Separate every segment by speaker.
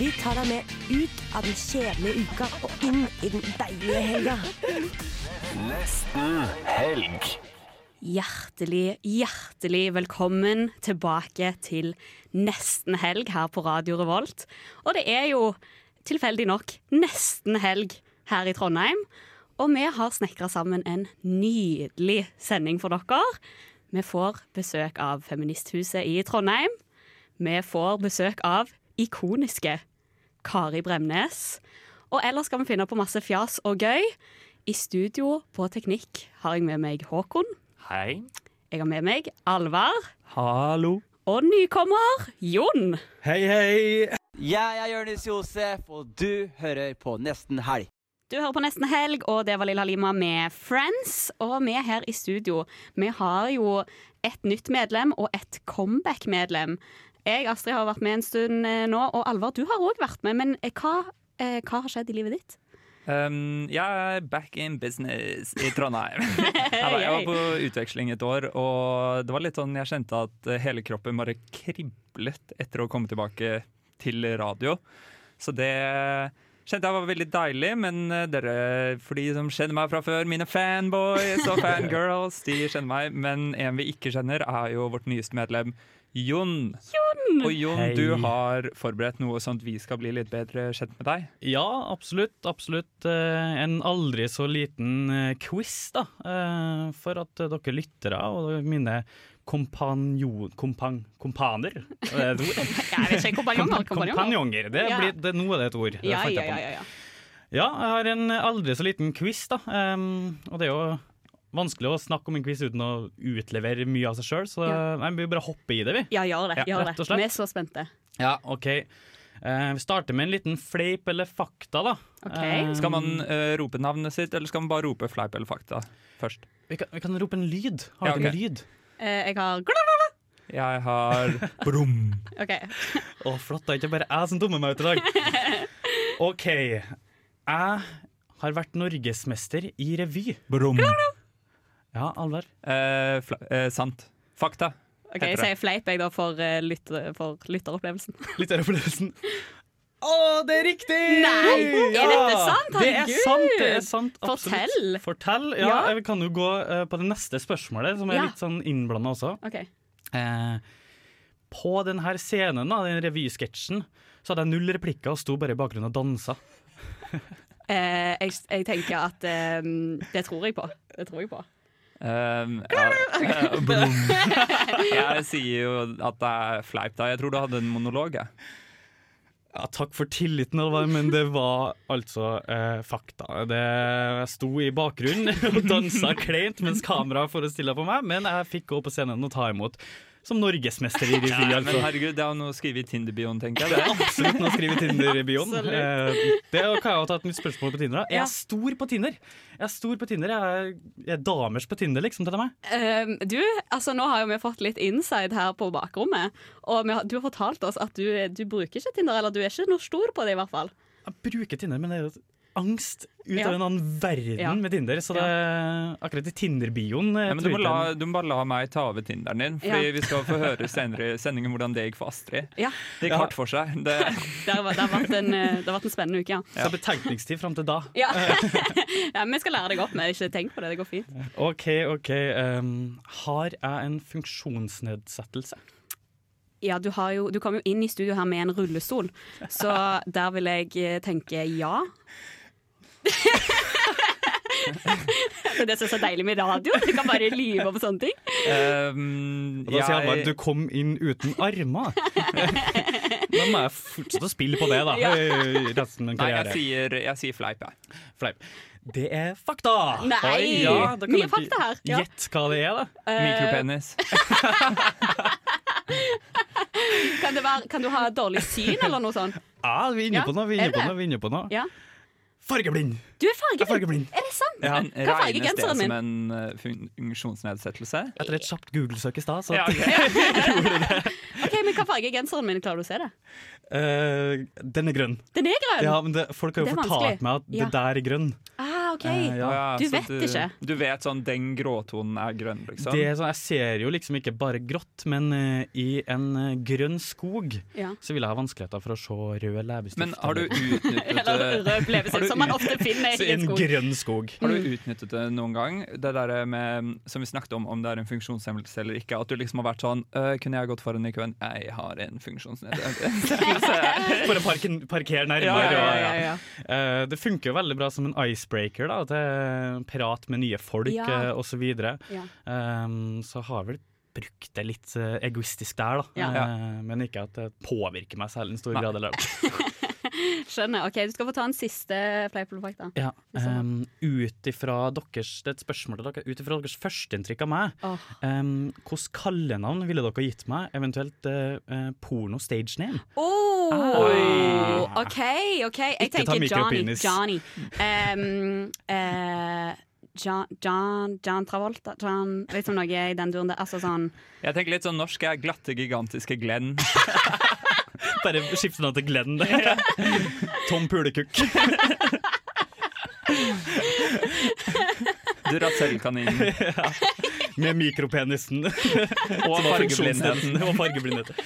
Speaker 1: Vi tar deg med ut av den kjedelige uka og inn i den deilige helga.
Speaker 2: Hjertelig, hjertelig velkommen tilbake til nesten helg her på Radio Revolt. Og det er jo tilfeldig nok nesten helg her i Trondheim. Og vi har snekra sammen en nydelig sending for dere. Vi får besøk av Feministhuset i Trondheim. Vi får besøk av ikoniske Kari Bremnes. Og ellers skal vi finne på masse fjas og gøy. I studio på Teknikk har jeg med meg Håkon.
Speaker 3: Hei.
Speaker 2: Jeg har med meg Alvar
Speaker 3: Hallo.
Speaker 2: og nykommer Jon.
Speaker 3: Hei, hei.
Speaker 4: Jeg er Jonis Josef, og du hører på Nesten helg.
Speaker 2: Du hører på Nesten Helg, og det var Lilla Lima med Friends. Og vi her i studio, vi har jo et nytt medlem og et comeback-medlem. Jeg, Astrid, har vært med en stund eh, nå, og Alvar, du har òg vært med. Men eh, hva, eh, hva har skjedd i livet ditt?
Speaker 3: Um, jeg er back in business i Trondheim. Neida, jeg var på utveksling et år, og det var litt sånn jeg kjente at hele kroppen bare kriblet etter å komme tilbake til radio. Så det kjente jeg var veldig deilig, men eh, dere, for de som kjenner meg fra før, mine fanboys og fangirls, de kjenner meg. Men en vi ikke kjenner, er jo vårt nyeste medlem. Jon. Og Jon,
Speaker 5: Hei.
Speaker 3: du har forberedt noe sånn at vi skal bli litt bedre kjent med deg.
Speaker 5: Ja, absolutt. absolutt. Eh, En aldri så liten eh, quiz, da. eh, For at eh, dere lyttere og mine kompanjo... Kompang... Kompaner? Er det et ord?
Speaker 2: Jeg vet ikke. Kompanjonger? kompanjonger.
Speaker 5: Kompanjonger. Det
Speaker 2: Ja.
Speaker 5: blir, det, nå er det et ord. Det
Speaker 2: Ja,
Speaker 5: fant jeg
Speaker 2: ja, ja,
Speaker 5: på nå.
Speaker 2: ja, ja.
Speaker 5: ja, jeg har en aldri så liten quiz, da. Em, Og det er jo vanskelig å snakke om en quiz uten å utlevere mye av seg sjøl, så
Speaker 2: Ja.
Speaker 5: nei, vi bare hopper i det, vi.
Speaker 2: Ja, gjør det.
Speaker 5: Ja,
Speaker 2: Gjør
Speaker 5: rett
Speaker 2: det.
Speaker 5: og slett.
Speaker 2: Vi er så spente.
Speaker 5: Ja, OK. Eh, Vi starter med en liten fleip eller fakta, da.
Speaker 2: Ok.
Speaker 5: Em,
Speaker 3: Skal man eh, rope navnet sitt, eller skal man bare rope fleip eller fakta først?
Speaker 5: Vi kan, vi kan rope en lyd. Har
Speaker 3: Ja,
Speaker 5: dere
Speaker 3: ok.
Speaker 5: en lyd?
Speaker 2: Eh, Jeg har
Speaker 3: Jeg har brum.
Speaker 2: OK.
Speaker 5: Å, flott. Det er ikke bare jeg som dummer meg ut i dag. OK. Jeg har vært norgesmester i revy.
Speaker 3: Brum.
Speaker 5: Ja, Alvar.
Speaker 3: Eh, fla- eh, sant. Fakta.
Speaker 2: Ok,
Speaker 3: Heter
Speaker 2: Så jeg fleip jeg da for, eh, lytter- for lytteropplevelsen.
Speaker 5: Litt av opplevelsen. Å, det er riktig!
Speaker 2: Nei, er dette sant?
Speaker 5: Det er
Speaker 2: Herregud!
Speaker 5: sant! det er sant, absolutt.
Speaker 2: Fortell.
Speaker 5: Fortell, ja,
Speaker 2: Ja.
Speaker 5: Vi kan jo gå eh, på det neste spørsmålet, som er
Speaker 2: Ja.
Speaker 5: litt sånn innblanda også.
Speaker 2: Ok.
Speaker 5: Eh, på denne scenen, da, den revysketsjen, så hadde jeg null replikker og sto bare i bakgrunnen og dansa.
Speaker 2: Eh, jeg, jeg tenker at eh, Det tror jeg på. Det tror jeg på.
Speaker 3: Um, ja, eh, brum. Jeg sier jo at det er fleip, da. Jeg tror du hadde en monolog. jeg.
Speaker 5: Ja, takk for tilliten, Alvar, men det var altså eh, fakta. Det, jeg sto i bakgrunnen og dansa kleint mens kameraet forestilla på meg, men jeg fikk gå opp på scenen og ta imot som norgesmester i revy.
Speaker 3: Men
Speaker 5: Altså.
Speaker 3: herregud, det er jo noe å skrive i Tinder-bioen, tenker jeg.
Speaker 5: Det er absolutt noe å skrive i Tinder-bioen.
Speaker 2: Absolutt.
Speaker 5: Eh, det kan jeg jo ta et nytt spørsmål på Tinder. da. Jeg er stor på Tinder. Jeg er stor på Tinder. Jeg er, jeg er damers på Tinder, liksom, til meg.
Speaker 2: Ehm, du, altså Nå har jo vi fått litt inside her på bakrommet. Og vi har, du har fortalt oss at du, du bruker ikke Tinder, eller du er ikke noe stor på det, i hvert fall.
Speaker 5: Jeg bruker Tinder, men det er jo et angst ut
Speaker 2: Ja.
Speaker 5: av en annen verden
Speaker 2: Ja.
Speaker 5: med Tinder. Så det, akkurat i Tinder-bioen eh,
Speaker 3: Ja, men du,
Speaker 5: tror
Speaker 3: må
Speaker 5: jeg
Speaker 3: la, du må bare la meg ta over Tinderen din, Fordi
Speaker 2: Ja.
Speaker 3: vi skal få høre senere i sendingen hvordan det gikk for Astrid.
Speaker 2: Ja,
Speaker 3: Det gikk
Speaker 5: Ja.
Speaker 3: hardt for seg. Det,
Speaker 2: Det har, vært- det har, vært, en, eh, det har vært en spennende uke, ja.
Speaker 5: Så betenkningstid fram til da.
Speaker 2: Ja. ja Vi skal lære deg opp, men ikke tenk på det. Det går fint.
Speaker 5: OK, OK. ehm, har jeg en funksjonsnedsettelse?
Speaker 2: Ja, du, har jo, du kom jo inn i studio her med en rullestol, så der vil jeg eh, tenke ja. Det er det som er så deilig med radio. Du kan bare lyve om sånne ting.
Speaker 3: um,
Speaker 5: Og da sier han bare
Speaker 3: jeg-
Speaker 5: at du kom inn uten armer. da må jeg fortsette å spille på det, da.
Speaker 2: Ja.
Speaker 5: i Resten av min
Speaker 3: Nei, jeg
Speaker 5: karriere.
Speaker 3: sier, jeg sier fleip, jeg.
Speaker 5: Fleip. Det er fakta!
Speaker 2: Nei!
Speaker 5: Oi, ja, da kan
Speaker 2: Mye
Speaker 5: dere
Speaker 2: fakta her. Ja.
Speaker 5: Gjett hva det er, da.
Speaker 2: Eh,
Speaker 3: Mikropenis.
Speaker 2: Kan, det være, kan du ha dårlig syn eller noe sånt?
Speaker 5: Ja, vi er inne
Speaker 2: Ja,
Speaker 5: på noe, vi er
Speaker 2: er
Speaker 5: inne på
Speaker 2: det?
Speaker 5: noe. vi er inne på noe.
Speaker 2: Ja.
Speaker 5: fargeblind!
Speaker 2: Du er fargeblind.
Speaker 5: Jeg er fargeblind.
Speaker 2: Er det sant?
Speaker 3: Men
Speaker 2: Hva
Speaker 3: regnes det
Speaker 2: er fargegenseren
Speaker 3: som
Speaker 2: min?
Speaker 3: en eh, fun- funksjonsnedsettelse?
Speaker 5: Etter et kjapt Google-søk i stad, så
Speaker 3: Ja,
Speaker 5: at,
Speaker 3: ok.
Speaker 2: Ok, men Hva farge er genseren min? Klarer du å se det?
Speaker 5: eh, Den er grønn.
Speaker 2: Den er grønn!
Speaker 5: Ja, men det, folk har
Speaker 2: Um, Det
Speaker 5: jo
Speaker 2: er vanskelig.
Speaker 5: fortalt meg at
Speaker 2: Ja.
Speaker 5: det der er grønn.
Speaker 2: Ah, ok.
Speaker 5: Eh, ja.
Speaker 3: Ja,
Speaker 2: Du
Speaker 3: så
Speaker 2: vet ikke.
Speaker 3: Du vet sånn den gråtonen er grønn, liksom.
Speaker 5: Det er sånn, jeg ser jo liksom ikke bare grått, men eh, i en eh, grønn skog
Speaker 2: Ja.
Speaker 5: så vil jeg ha vanskeligheter for å se rød leppestift.
Speaker 3: Men har du
Speaker 5: eller-
Speaker 3: utnyttet
Speaker 2: Eller
Speaker 3: det?
Speaker 2: rød
Speaker 3: Har
Speaker 2: blevesild,
Speaker 3: du
Speaker 2: som man
Speaker 3: ut-
Speaker 2: ofte finner
Speaker 5: Så
Speaker 2: i en
Speaker 5: en
Speaker 2: skog.
Speaker 5: grønn skog.
Speaker 3: Har
Speaker 2: Mm.
Speaker 3: du utnyttet det noen gang? Det der med, som vi snakket om, om det er en funksjonshemmelse eller ikke. At du liksom har vært sånn «Øh, Kunne jeg gått foran i køen? Jeg har en funksjonsnedsettelse.
Speaker 5: For å parke, parkere nærmere.
Speaker 3: Ja, ja,
Speaker 5: og-
Speaker 2: ja, ja.
Speaker 5: Eh, det funker jo veldig bra som en icebreaker da, til prat med nye folk
Speaker 2: Ja.
Speaker 5: eh, og så videre.
Speaker 2: Ja.
Speaker 5: Ehm, så har jeg vel brukt det litt eh, egoistisk der, da.
Speaker 2: Ja.
Speaker 5: Eh, men ikke at det påvirker meg særlig i en stor
Speaker 3: Nei.
Speaker 5: grad. Eller.
Speaker 2: Skjønner. Ok, Du skal få ta en siste fleip eller fakta.
Speaker 5: Ja, um, ut ifra deres Det er et spørsmål til dere. Ut ifra deres førsteinntrykk av meg,
Speaker 2: Åh.
Speaker 5: um, hvilket kallenavn ville dere gitt meg? Eventuelt eh, eh, porno stage name?
Speaker 2: Oh,
Speaker 5: Ah.
Speaker 2: OK, OK. Jeg
Speaker 5: Ikke ta
Speaker 2: tenker Johnny.
Speaker 5: mikropenis.
Speaker 2: Johnny. Um, eh, John, John, John Travolta John, Liksom noe i den duren der. Altså sånn
Speaker 3: Jeg tenker litt sånn norsk er glatte, gigantiske Glenn.
Speaker 5: Bare skifte navn til Glenn. det. Tom Pulekukk.
Speaker 3: Duracell-kaninen.
Speaker 5: Med mikropenisen
Speaker 3: Og
Speaker 5: og
Speaker 3: fargeblindheten.
Speaker 5: funksjonsnedsettelsen og fargeblindheten.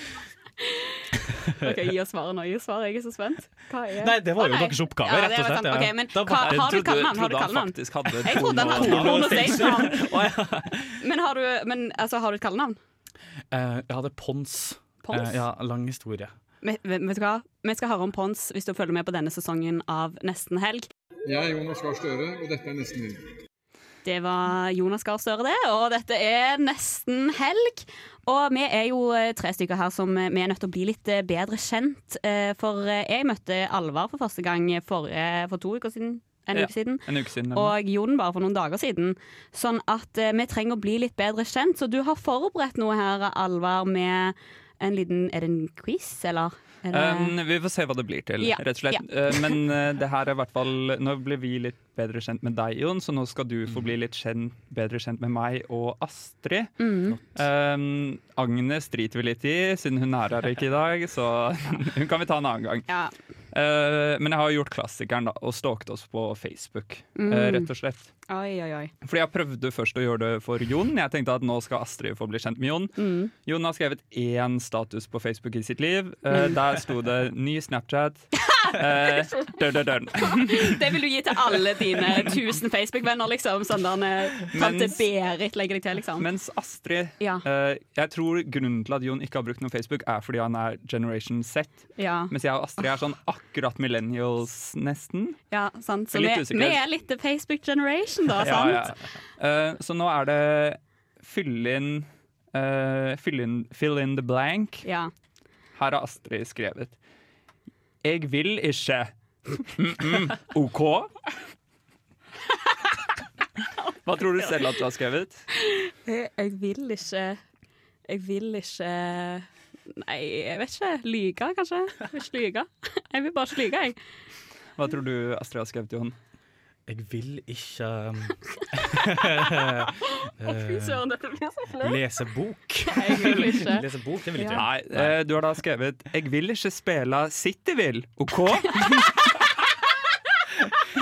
Speaker 2: Ok, Gi oss svaret nå. Gi oss svaret, jeg er så spent. Hva er
Speaker 5: Nei, det var
Speaker 2: Å,
Speaker 5: jo
Speaker 2: nei.
Speaker 5: deres oppgave,
Speaker 2: Ja,
Speaker 5: rett
Speaker 2: det
Speaker 5: og
Speaker 2: var
Speaker 5: slett.
Speaker 2: sant.
Speaker 5: ja.
Speaker 2: Ok, men
Speaker 5: Da
Speaker 2: hva-
Speaker 5: var-
Speaker 2: har du kallenavn? Har du
Speaker 3: trodde han
Speaker 2: kallenavn?
Speaker 3: faktisk hadde
Speaker 2: Jeg trodde han hadde
Speaker 3: porno-
Speaker 2: porno stage navn.
Speaker 5: Å, ja.
Speaker 2: Men har du, men, altså, har du et kallenavn?
Speaker 5: Eh, Jeg hadde Pons.
Speaker 2: Pons?
Speaker 5: Eh, Ja, lang historie.
Speaker 2: Men- men- Vet du hva? Vi skal høre om Pons hvis du følger med på denne sesongen av Nesten helg.
Speaker 6: Jeg er Jonas Gahr Støre, og dette er Nesten Helg.
Speaker 2: Det var Jonas Gahr Støre, det. Og dette er nesten helg. Og vi er jo eh, tre stykker her som eh, vi er nødt til å bli litt eh, bedre kjent. eh, For eh, jeg møtte Alvar for første gang forrige- for to uker siden. En
Speaker 3: Ja.
Speaker 2: uke siden.
Speaker 3: En uke siden. eller noe.
Speaker 2: Og Jon bare for noen dager siden. Sånn at eh, vi trenger å bli litt bedre kjent. Så du har forberedt noe her, Alvar, med en liten Er det en quiz, eller? Er det,
Speaker 3: Um, vi får se hva det blir til,
Speaker 2: Eh, Ja,
Speaker 3: rett og slett. Uh, men uh, det her er i hvert fall Nå ble vi litt bedre kjent med deg, Jon, så nå skal du få bli litt kjent, bedre kjent med meg og Astrid.
Speaker 2: Mm.
Speaker 3: Um, Agnes driter vi litt i, siden hun er her ikke i dag, så hun kan vi ta en annen gang.
Speaker 2: ja.
Speaker 3: Uh, men jeg har gjort klassikeren, da, og stalket oss på Facebook,
Speaker 2: Mm.
Speaker 3: uh, rett og slett.
Speaker 2: Oi, oi, oi.
Speaker 3: Fordi jeg prøvde først å gjøre det for Jon. Jeg tenkte at nå skal Astrid få bli kjent med Jon.
Speaker 2: Mm.
Speaker 3: Jon har skrevet én status på Facebook i sitt liv. Eh, der sto det 'ny Snapchat'. Eh, død, død, død.
Speaker 2: Det vil du gi til alle dine tusen Facebook-venner, liksom. Sånn der eh, Tante
Speaker 3: Mens-
Speaker 2: Berit legger deg til, liksom.
Speaker 3: Mens Astrid
Speaker 2: Ja.
Speaker 3: eh, Jeg tror grunnen til at Jon ikke har brukt noe Facebook, er fordi han er generation Z.
Speaker 2: Ja,
Speaker 3: Mens jeg og Astrid er sånn akkurat millennials, nesten.
Speaker 2: ja sant. Så vi,
Speaker 3: Jeg er litt usikker.
Speaker 2: vi er litt the Facebook generation, da, sant?
Speaker 3: Ja, ja. Eh, så nå er det fyll inn, eh, fill in Fill in the blank.
Speaker 2: Ja.
Speaker 3: Her har Astrid skrevet Jeg vil ikke Mm-mm. OK Hva tror du selv at du har skrevet?
Speaker 2: Jeg, jeg vil ikke Jeg vil ikke Nei, jeg vet ikke. Lyge, kanskje? Jeg vil ikke lyge. Jeg vil bare ikke lyge, jeg.
Speaker 3: Hva tror du Astrid har skrevet, Jon?
Speaker 5: Jeg vil ikke um,
Speaker 3: Eh,
Speaker 2: Fy søren, dette blir så flaut.
Speaker 5: lese bok.
Speaker 2: Jeg vil ikke.
Speaker 5: Lese bok, det vil ikke jeg.
Speaker 3: Nei, eh, du har da skrevet 'Jeg vil ikke spille Cityville', OK?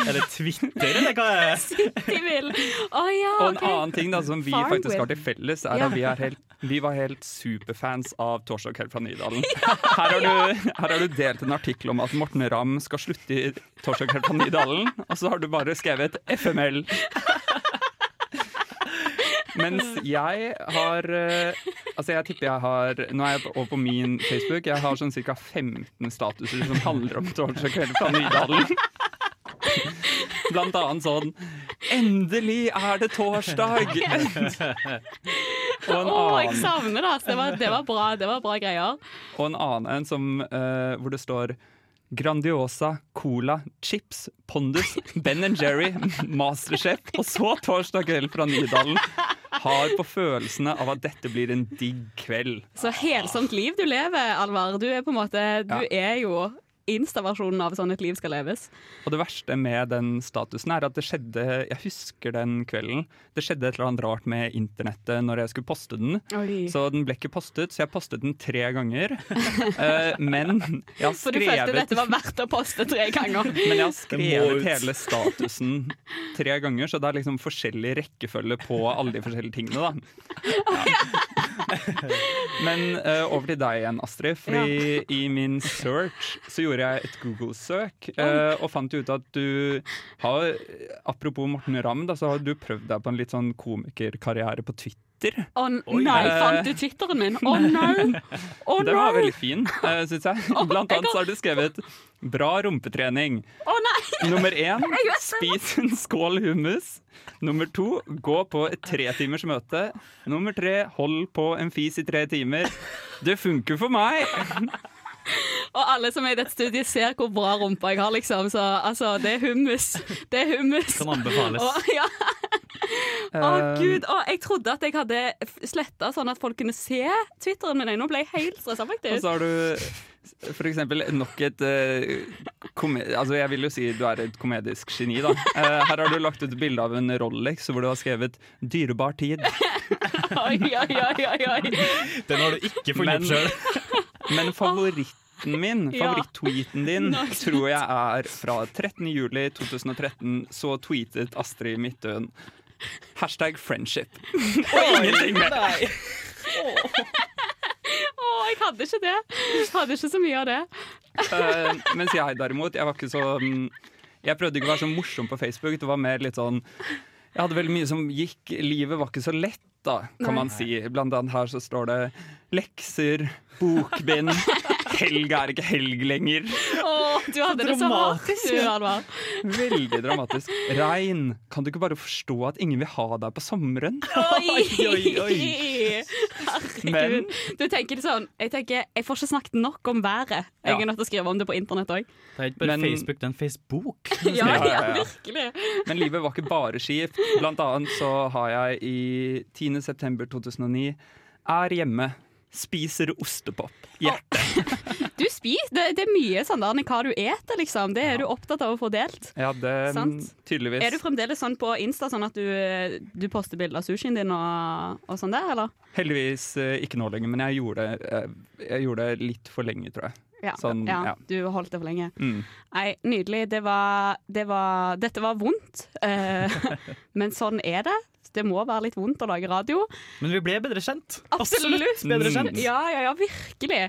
Speaker 5: Er det Twitter, eller hva er det?
Speaker 2: De vil. Å ja,
Speaker 3: Og en
Speaker 2: OK.
Speaker 3: annen ting da som vi
Speaker 2: Farm
Speaker 3: faktisk har
Speaker 2: with.
Speaker 3: til felles, er
Speaker 2: Ja.
Speaker 3: at vi, er helt, vi var helt superfans av Torsdag kveld fra Nydalen. Her har, du, her har du delt en artikkel om at Morten Ramm skal slutte i Torsdag kveld fra Nydalen, og så har du bare skrevet FML. Mens jeg har eh, Altså jeg tipper jeg har Nå er jeg over på min Facebook. Jeg har sånn ca. 15 statuser som handler om Torsdag kveld fra Nydalen. Blant annet sånn Endelig er det torsdag! og, en
Speaker 2: Å, jeg
Speaker 3: annen,
Speaker 2: savner det. ass. Det var, det var bra det var bra greier.
Speaker 3: og en annen en som, eh, hvor det står Grandiosa, Cola, Chips, Pondus, Ben Jerry, Masterchef og så Torsdag kveld fra Nydalen. Har på følelsene av at dette blir en digg kveld.
Speaker 2: Så helsomt liv du lever, Alvar. Du er på en måte Du
Speaker 3: Ja.
Speaker 2: er jo Insta-versjonen av Sånn et liv skal leves.
Speaker 3: Og det verste med den statusen er at det skjedde Jeg husker den kvelden. Det skjedde et eller annet rart med internettet når jeg skulle poste den.
Speaker 2: Oi.
Speaker 3: Så den ble ikke postet, så jeg postet den tre ganger. Eh, men jeg har
Speaker 2: For du følte
Speaker 3: skrevet
Speaker 2: dette var verdt å poste tre ganger.
Speaker 3: men jeg har
Speaker 5: Det må
Speaker 3: skrevet
Speaker 5: ut.
Speaker 3: hele statusen tre ganger, så det er liksom forskjellig rekkefølge på alle de forskjellige tingene, da. Men eh, over til deg igjen, Astrid. Fordi i min search så gjorde jeg et Google-søk, eh, og fant ut at du har Apropos Morten Ramm, da, så har du prøvd deg på en litt sånn komikerkarriere på Twitter.
Speaker 2: Å nei, fant du Twitteren min? Å nei! Å
Speaker 3: Den var
Speaker 2: nei!
Speaker 3: veldig fin, uh, syns jeg. Blant
Speaker 2: jeg
Speaker 3: annet så har du skrevet 'Bra rumpetrening'.
Speaker 2: Å nei!
Speaker 3: Nummer én,
Speaker 2: gjør
Speaker 3: spis en skål hummus. Nummer to, gå på et tretimers møte. Nummer tre, hold på en fis i tre timer. Det funker for meg!
Speaker 2: Og alle som er i dette studiet ser hvor bra rumpa jeg har, liksom. Så altså, det er hummus. Det er hummus.
Speaker 5: Kan anbefales.
Speaker 2: Å, ja. Å,
Speaker 3: Eh,
Speaker 2: gud. Å, jeg trodde at jeg hadde sletta sånn at folk kunne se Twitteren min. Nå ble jeg helt stressa,
Speaker 3: Og
Speaker 2: faktisk.
Speaker 3: så har du for eksempel nok et eh, kome Altså Jeg vil jo si du er et komedisk geni, da. Eh, her har du lagt ut bilde av en Rolex hvor du har skrevet 'dyrebar tid'.
Speaker 2: Oi, oi, oi, oi, oi.
Speaker 5: Den har du ikke funnet
Speaker 3: Men-
Speaker 5: opp sjøl.
Speaker 3: Men favoritten min,
Speaker 2: Ja.
Speaker 3: favoritt-tweeten din,
Speaker 2: Nå, ikke sant.
Speaker 3: tror jeg er fra 13. juli 2013. Så tweetet Astrid Midtøen hashtag friendship. Og ingenting mer.
Speaker 2: Å, jeg hadde ikke det. Jeg hadde ikke så mye av det.
Speaker 3: Eh, mens jeg derimot, jeg var ikke så mm, Jeg prøvde ikke å være så morsom på Facebook. Det var mer litt sånn Jeg hadde veldig mye som gikk. Livet var ikke så lett, da, kan man si. Blant annet her så står det lekser, bokbind. Helg er ikke helg lenger.
Speaker 2: Å, du hadde det så hardt, du, Alvar.
Speaker 3: Veldig dramatisk. Regn, kan du ikke bare forstå at ingen vil ha deg på sommeren?
Speaker 2: Oi,
Speaker 3: oi, oi. Men-
Speaker 2: Herregud. Du tenker det sånn Jeg tenker, jeg får ikke snakket nok om været. Jeg
Speaker 3: Ja.
Speaker 2: er nødt til å skrive om det på internett òg.
Speaker 5: Det er ikke bare
Speaker 3: Men-
Speaker 5: Facebook, det er en Facebook.
Speaker 2: Ja,
Speaker 3: Ja, ja,
Speaker 2: ja,
Speaker 3: ja.
Speaker 2: virkelig.
Speaker 3: Men livet var ikke bare skift. Blant annet så har jeg i 10. september 2009 er hjemme, spiser ostepop. Hjerte.
Speaker 2: Du spiser. Det, det er mye sånn der, hva du eter, liksom. Det er du opptatt av å få delt.
Speaker 3: Ja, det
Speaker 2: Sant.
Speaker 3: mm, tydeligvis.
Speaker 2: Er du fremdeles sånn på Insta, sånn at du, du poster bilder av sushien din og, og sånn der, eller?
Speaker 3: Heldigvis eh, ikke nå lenger, men jeg gjorde, eh, jeg gjorde det litt for lenge, tror jeg.
Speaker 2: Ja.
Speaker 3: Sånn,
Speaker 2: ja,
Speaker 3: ja.
Speaker 2: Du holdt det for lenge.
Speaker 3: Mm.
Speaker 2: Nei, nydelig. Det var, det var Dette var vondt. Eh, men sånn er det. Det må være litt vondt å lage radio.
Speaker 5: Men vi ble bedre kjent.
Speaker 2: Absolutt. Mm.
Speaker 5: bedre kjent.
Speaker 2: Ja, ja, ja, virkelig.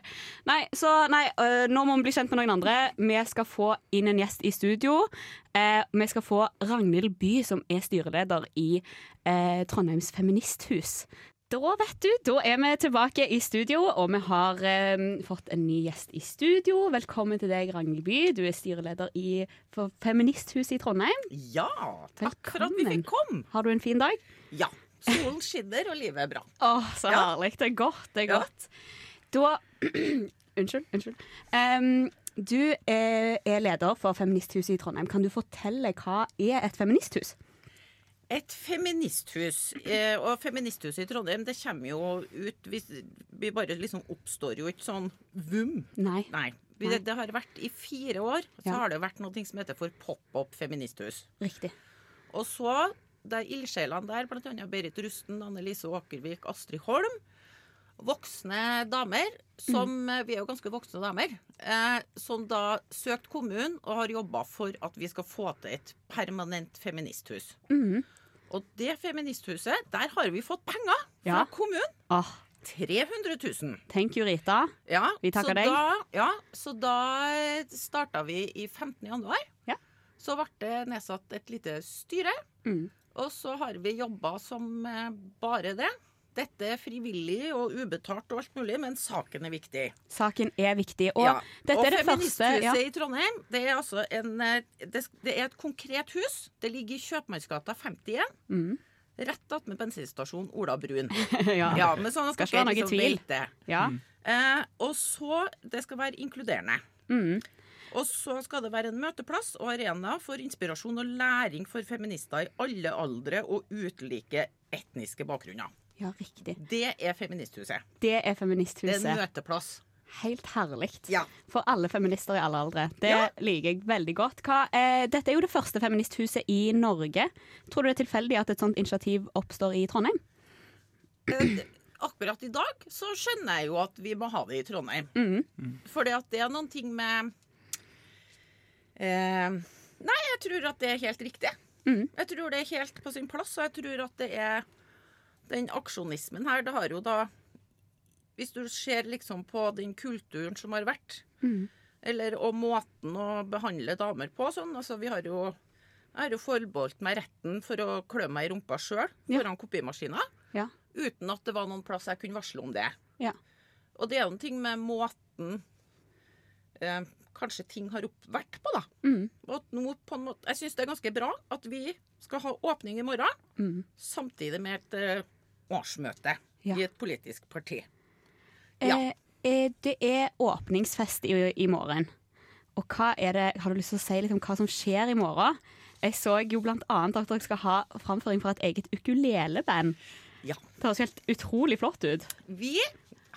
Speaker 2: Nei, så nei, øh, nå må vi bli kjent med noen andre. Vi skal få inn en gjest i studio. Eh, vi skal få Ragnhild By, som er styreleder i eh, Trondheims Feministhus. Da vet du, da er vi tilbake i studio, og vi har eh, fått en ny gjest i studio. Velkommen til deg, Ragnhild By. Du er styreleder i for Feministhuset i Trondheim.
Speaker 7: Ja, takk for at vi
Speaker 2: Velkommen.
Speaker 7: fikk komme.
Speaker 2: Har du en fin dag?
Speaker 7: Ja. Solen skinner, og livet er bra.
Speaker 2: Å, så herlig. Det er godt. Det er
Speaker 7: Ja.
Speaker 2: godt. Da Unnskyld. unnskyld. Em, du er, er leder for Feministhuset i Trondheim. Kan du fortelle hva er et feministhus?
Speaker 7: Et feministhus. eh, Og feministhuset i Trondheim, det kommer jo ut Vi, vi bare liksom oppstår jo ikke sånn vum.
Speaker 2: Nei.
Speaker 7: Nei. Vi, det, det har vært i fire år, så
Speaker 2: Ja.
Speaker 7: har det vært noe som heter for pop-up feministhus.
Speaker 2: Riktig.
Speaker 7: Og så de ildsjelene der, bl.a. Berit Rusten, Anne Lise Åkervik, Astrid Holm. Voksne damer, som eh, Vi er jo ganske voksne damer. Eh, som da søkte kommunen og har jobba for at vi skal få til et permanent feministhus. Og det feministhuset, der har vi fått penger fra
Speaker 2: Ja.
Speaker 7: kommunen.
Speaker 2: Åh,
Speaker 7: 300 000.
Speaker 2: tenk jo, Rita.
Speaker 7: Ja,
Speaker 2: Vi takker
Speaker 7: så
Speaker 2: deg.
Speaker 7: Da, ja, så da starta vi i 15. januar.
Speaker 2: Ja.
Speaker 7: Så ble det nedsatt et lite styre.
Speaker 2: Mm.
Speaker 7: Og så har vi jobba som eh, bare det. Dette er frivillig og ubetalt og alt mulig, men saken er viktig.
Speaker 2: Saken er viktig. Og
Speaker 7: Ja.
Speaker 2: dette
Speaker 7: og
Speaker 2: er det første
Speaker 7: Feministhuset
Speaker 2: ja.
Speaker 7: i Trondheim det er, altså en, eh, det, det er et konkret hus. Det ligger i Kjøpmannsgata 51.
Speaker 2: Mm.
Speaker 7: Rett attmed bensinstasjonen Ola Brun.
Speaker 2: ja.
Speaker 7: Ja, men sånn at
Speaker 2: Skal ikke være
Speaker 7: dere
Speaker 2: noe
Speaker 7: liksom
Speaker 2: tvil.
Speaker 7: vet det.
Speaker 2: ja.
Speaker 7: Eh, og så Det skal være inkluderende.
Speaker 2: Mm.
Speaker 7: Og så skal det være en møteplass og arena for inspirasjon og læring for feminister i alle aldre og ulike etniske bakgrunner.
Speaker 2: ja, riktig.
Speaker 7: Det er Feministhuset.
Speaker 2: Det er
Speaker 7: Det er en
Speaker 2: Feministhuset.
Speaker 7: møteplass.
Speaker 2: helt herlig. For alle feminister i alle aldre. Det liker jeg veldig godt. Hva, eh, dette er jo det første feministhuset i Norge. Tror du det er tilfeldig at et sånt initiativ oppstår i Trondheim?
Speaker 7: Eh, Akkurat i dag så skjønner jeg jo at vi må ha det i Trondheim.
Speaker 2: Mhm.
Speaker 7: Fordi at det er noen ting med eh, Nei, jeg tror at det er helt riktig. Jeg tror det er helt på sin plass, og jeg tror at det er den aksjonismen her, det har jo da Hvis du ser liksom på den kulturen som har vært,
Speaker 2: Mhm.
Speaker 7: eller og måten å behandle damer på sånn, altså vi har jo jeg har jo forbeholdt meg retten for å klø meg i rumpa sjøl foran kopimaskina.
Speaker 2: Ja.
Speaker 7: Uten at det var noen plass jeg kunne varsle om det.
Speaker 2: Ja.
Speaker 7: Og det er jo en ting med måten eh, kanskje ting har opp, vært på, da.
Speaker 2: Mm.
Speaker 7: Og at nå på en måte, jeg syns det er ganske bra at vi skal ha åpning i morgen,
Speaker 2: Mm.
Speaker 7: samtidig med et eh, årsmøte i et politisk parti. Ja.
Speaker 2: Eh, eh, det er åpningsfest i, i morgen. Og hva er det, har du lyst til å si litt om hva som skjer i morgen? Jeg så jo blant annet at dere skal ha framføring fra et eget ukuleleband.
Speaker 7: Ja.
Speaker 2: Det høres helt utrolig flott ut.
Speaker 7: Vi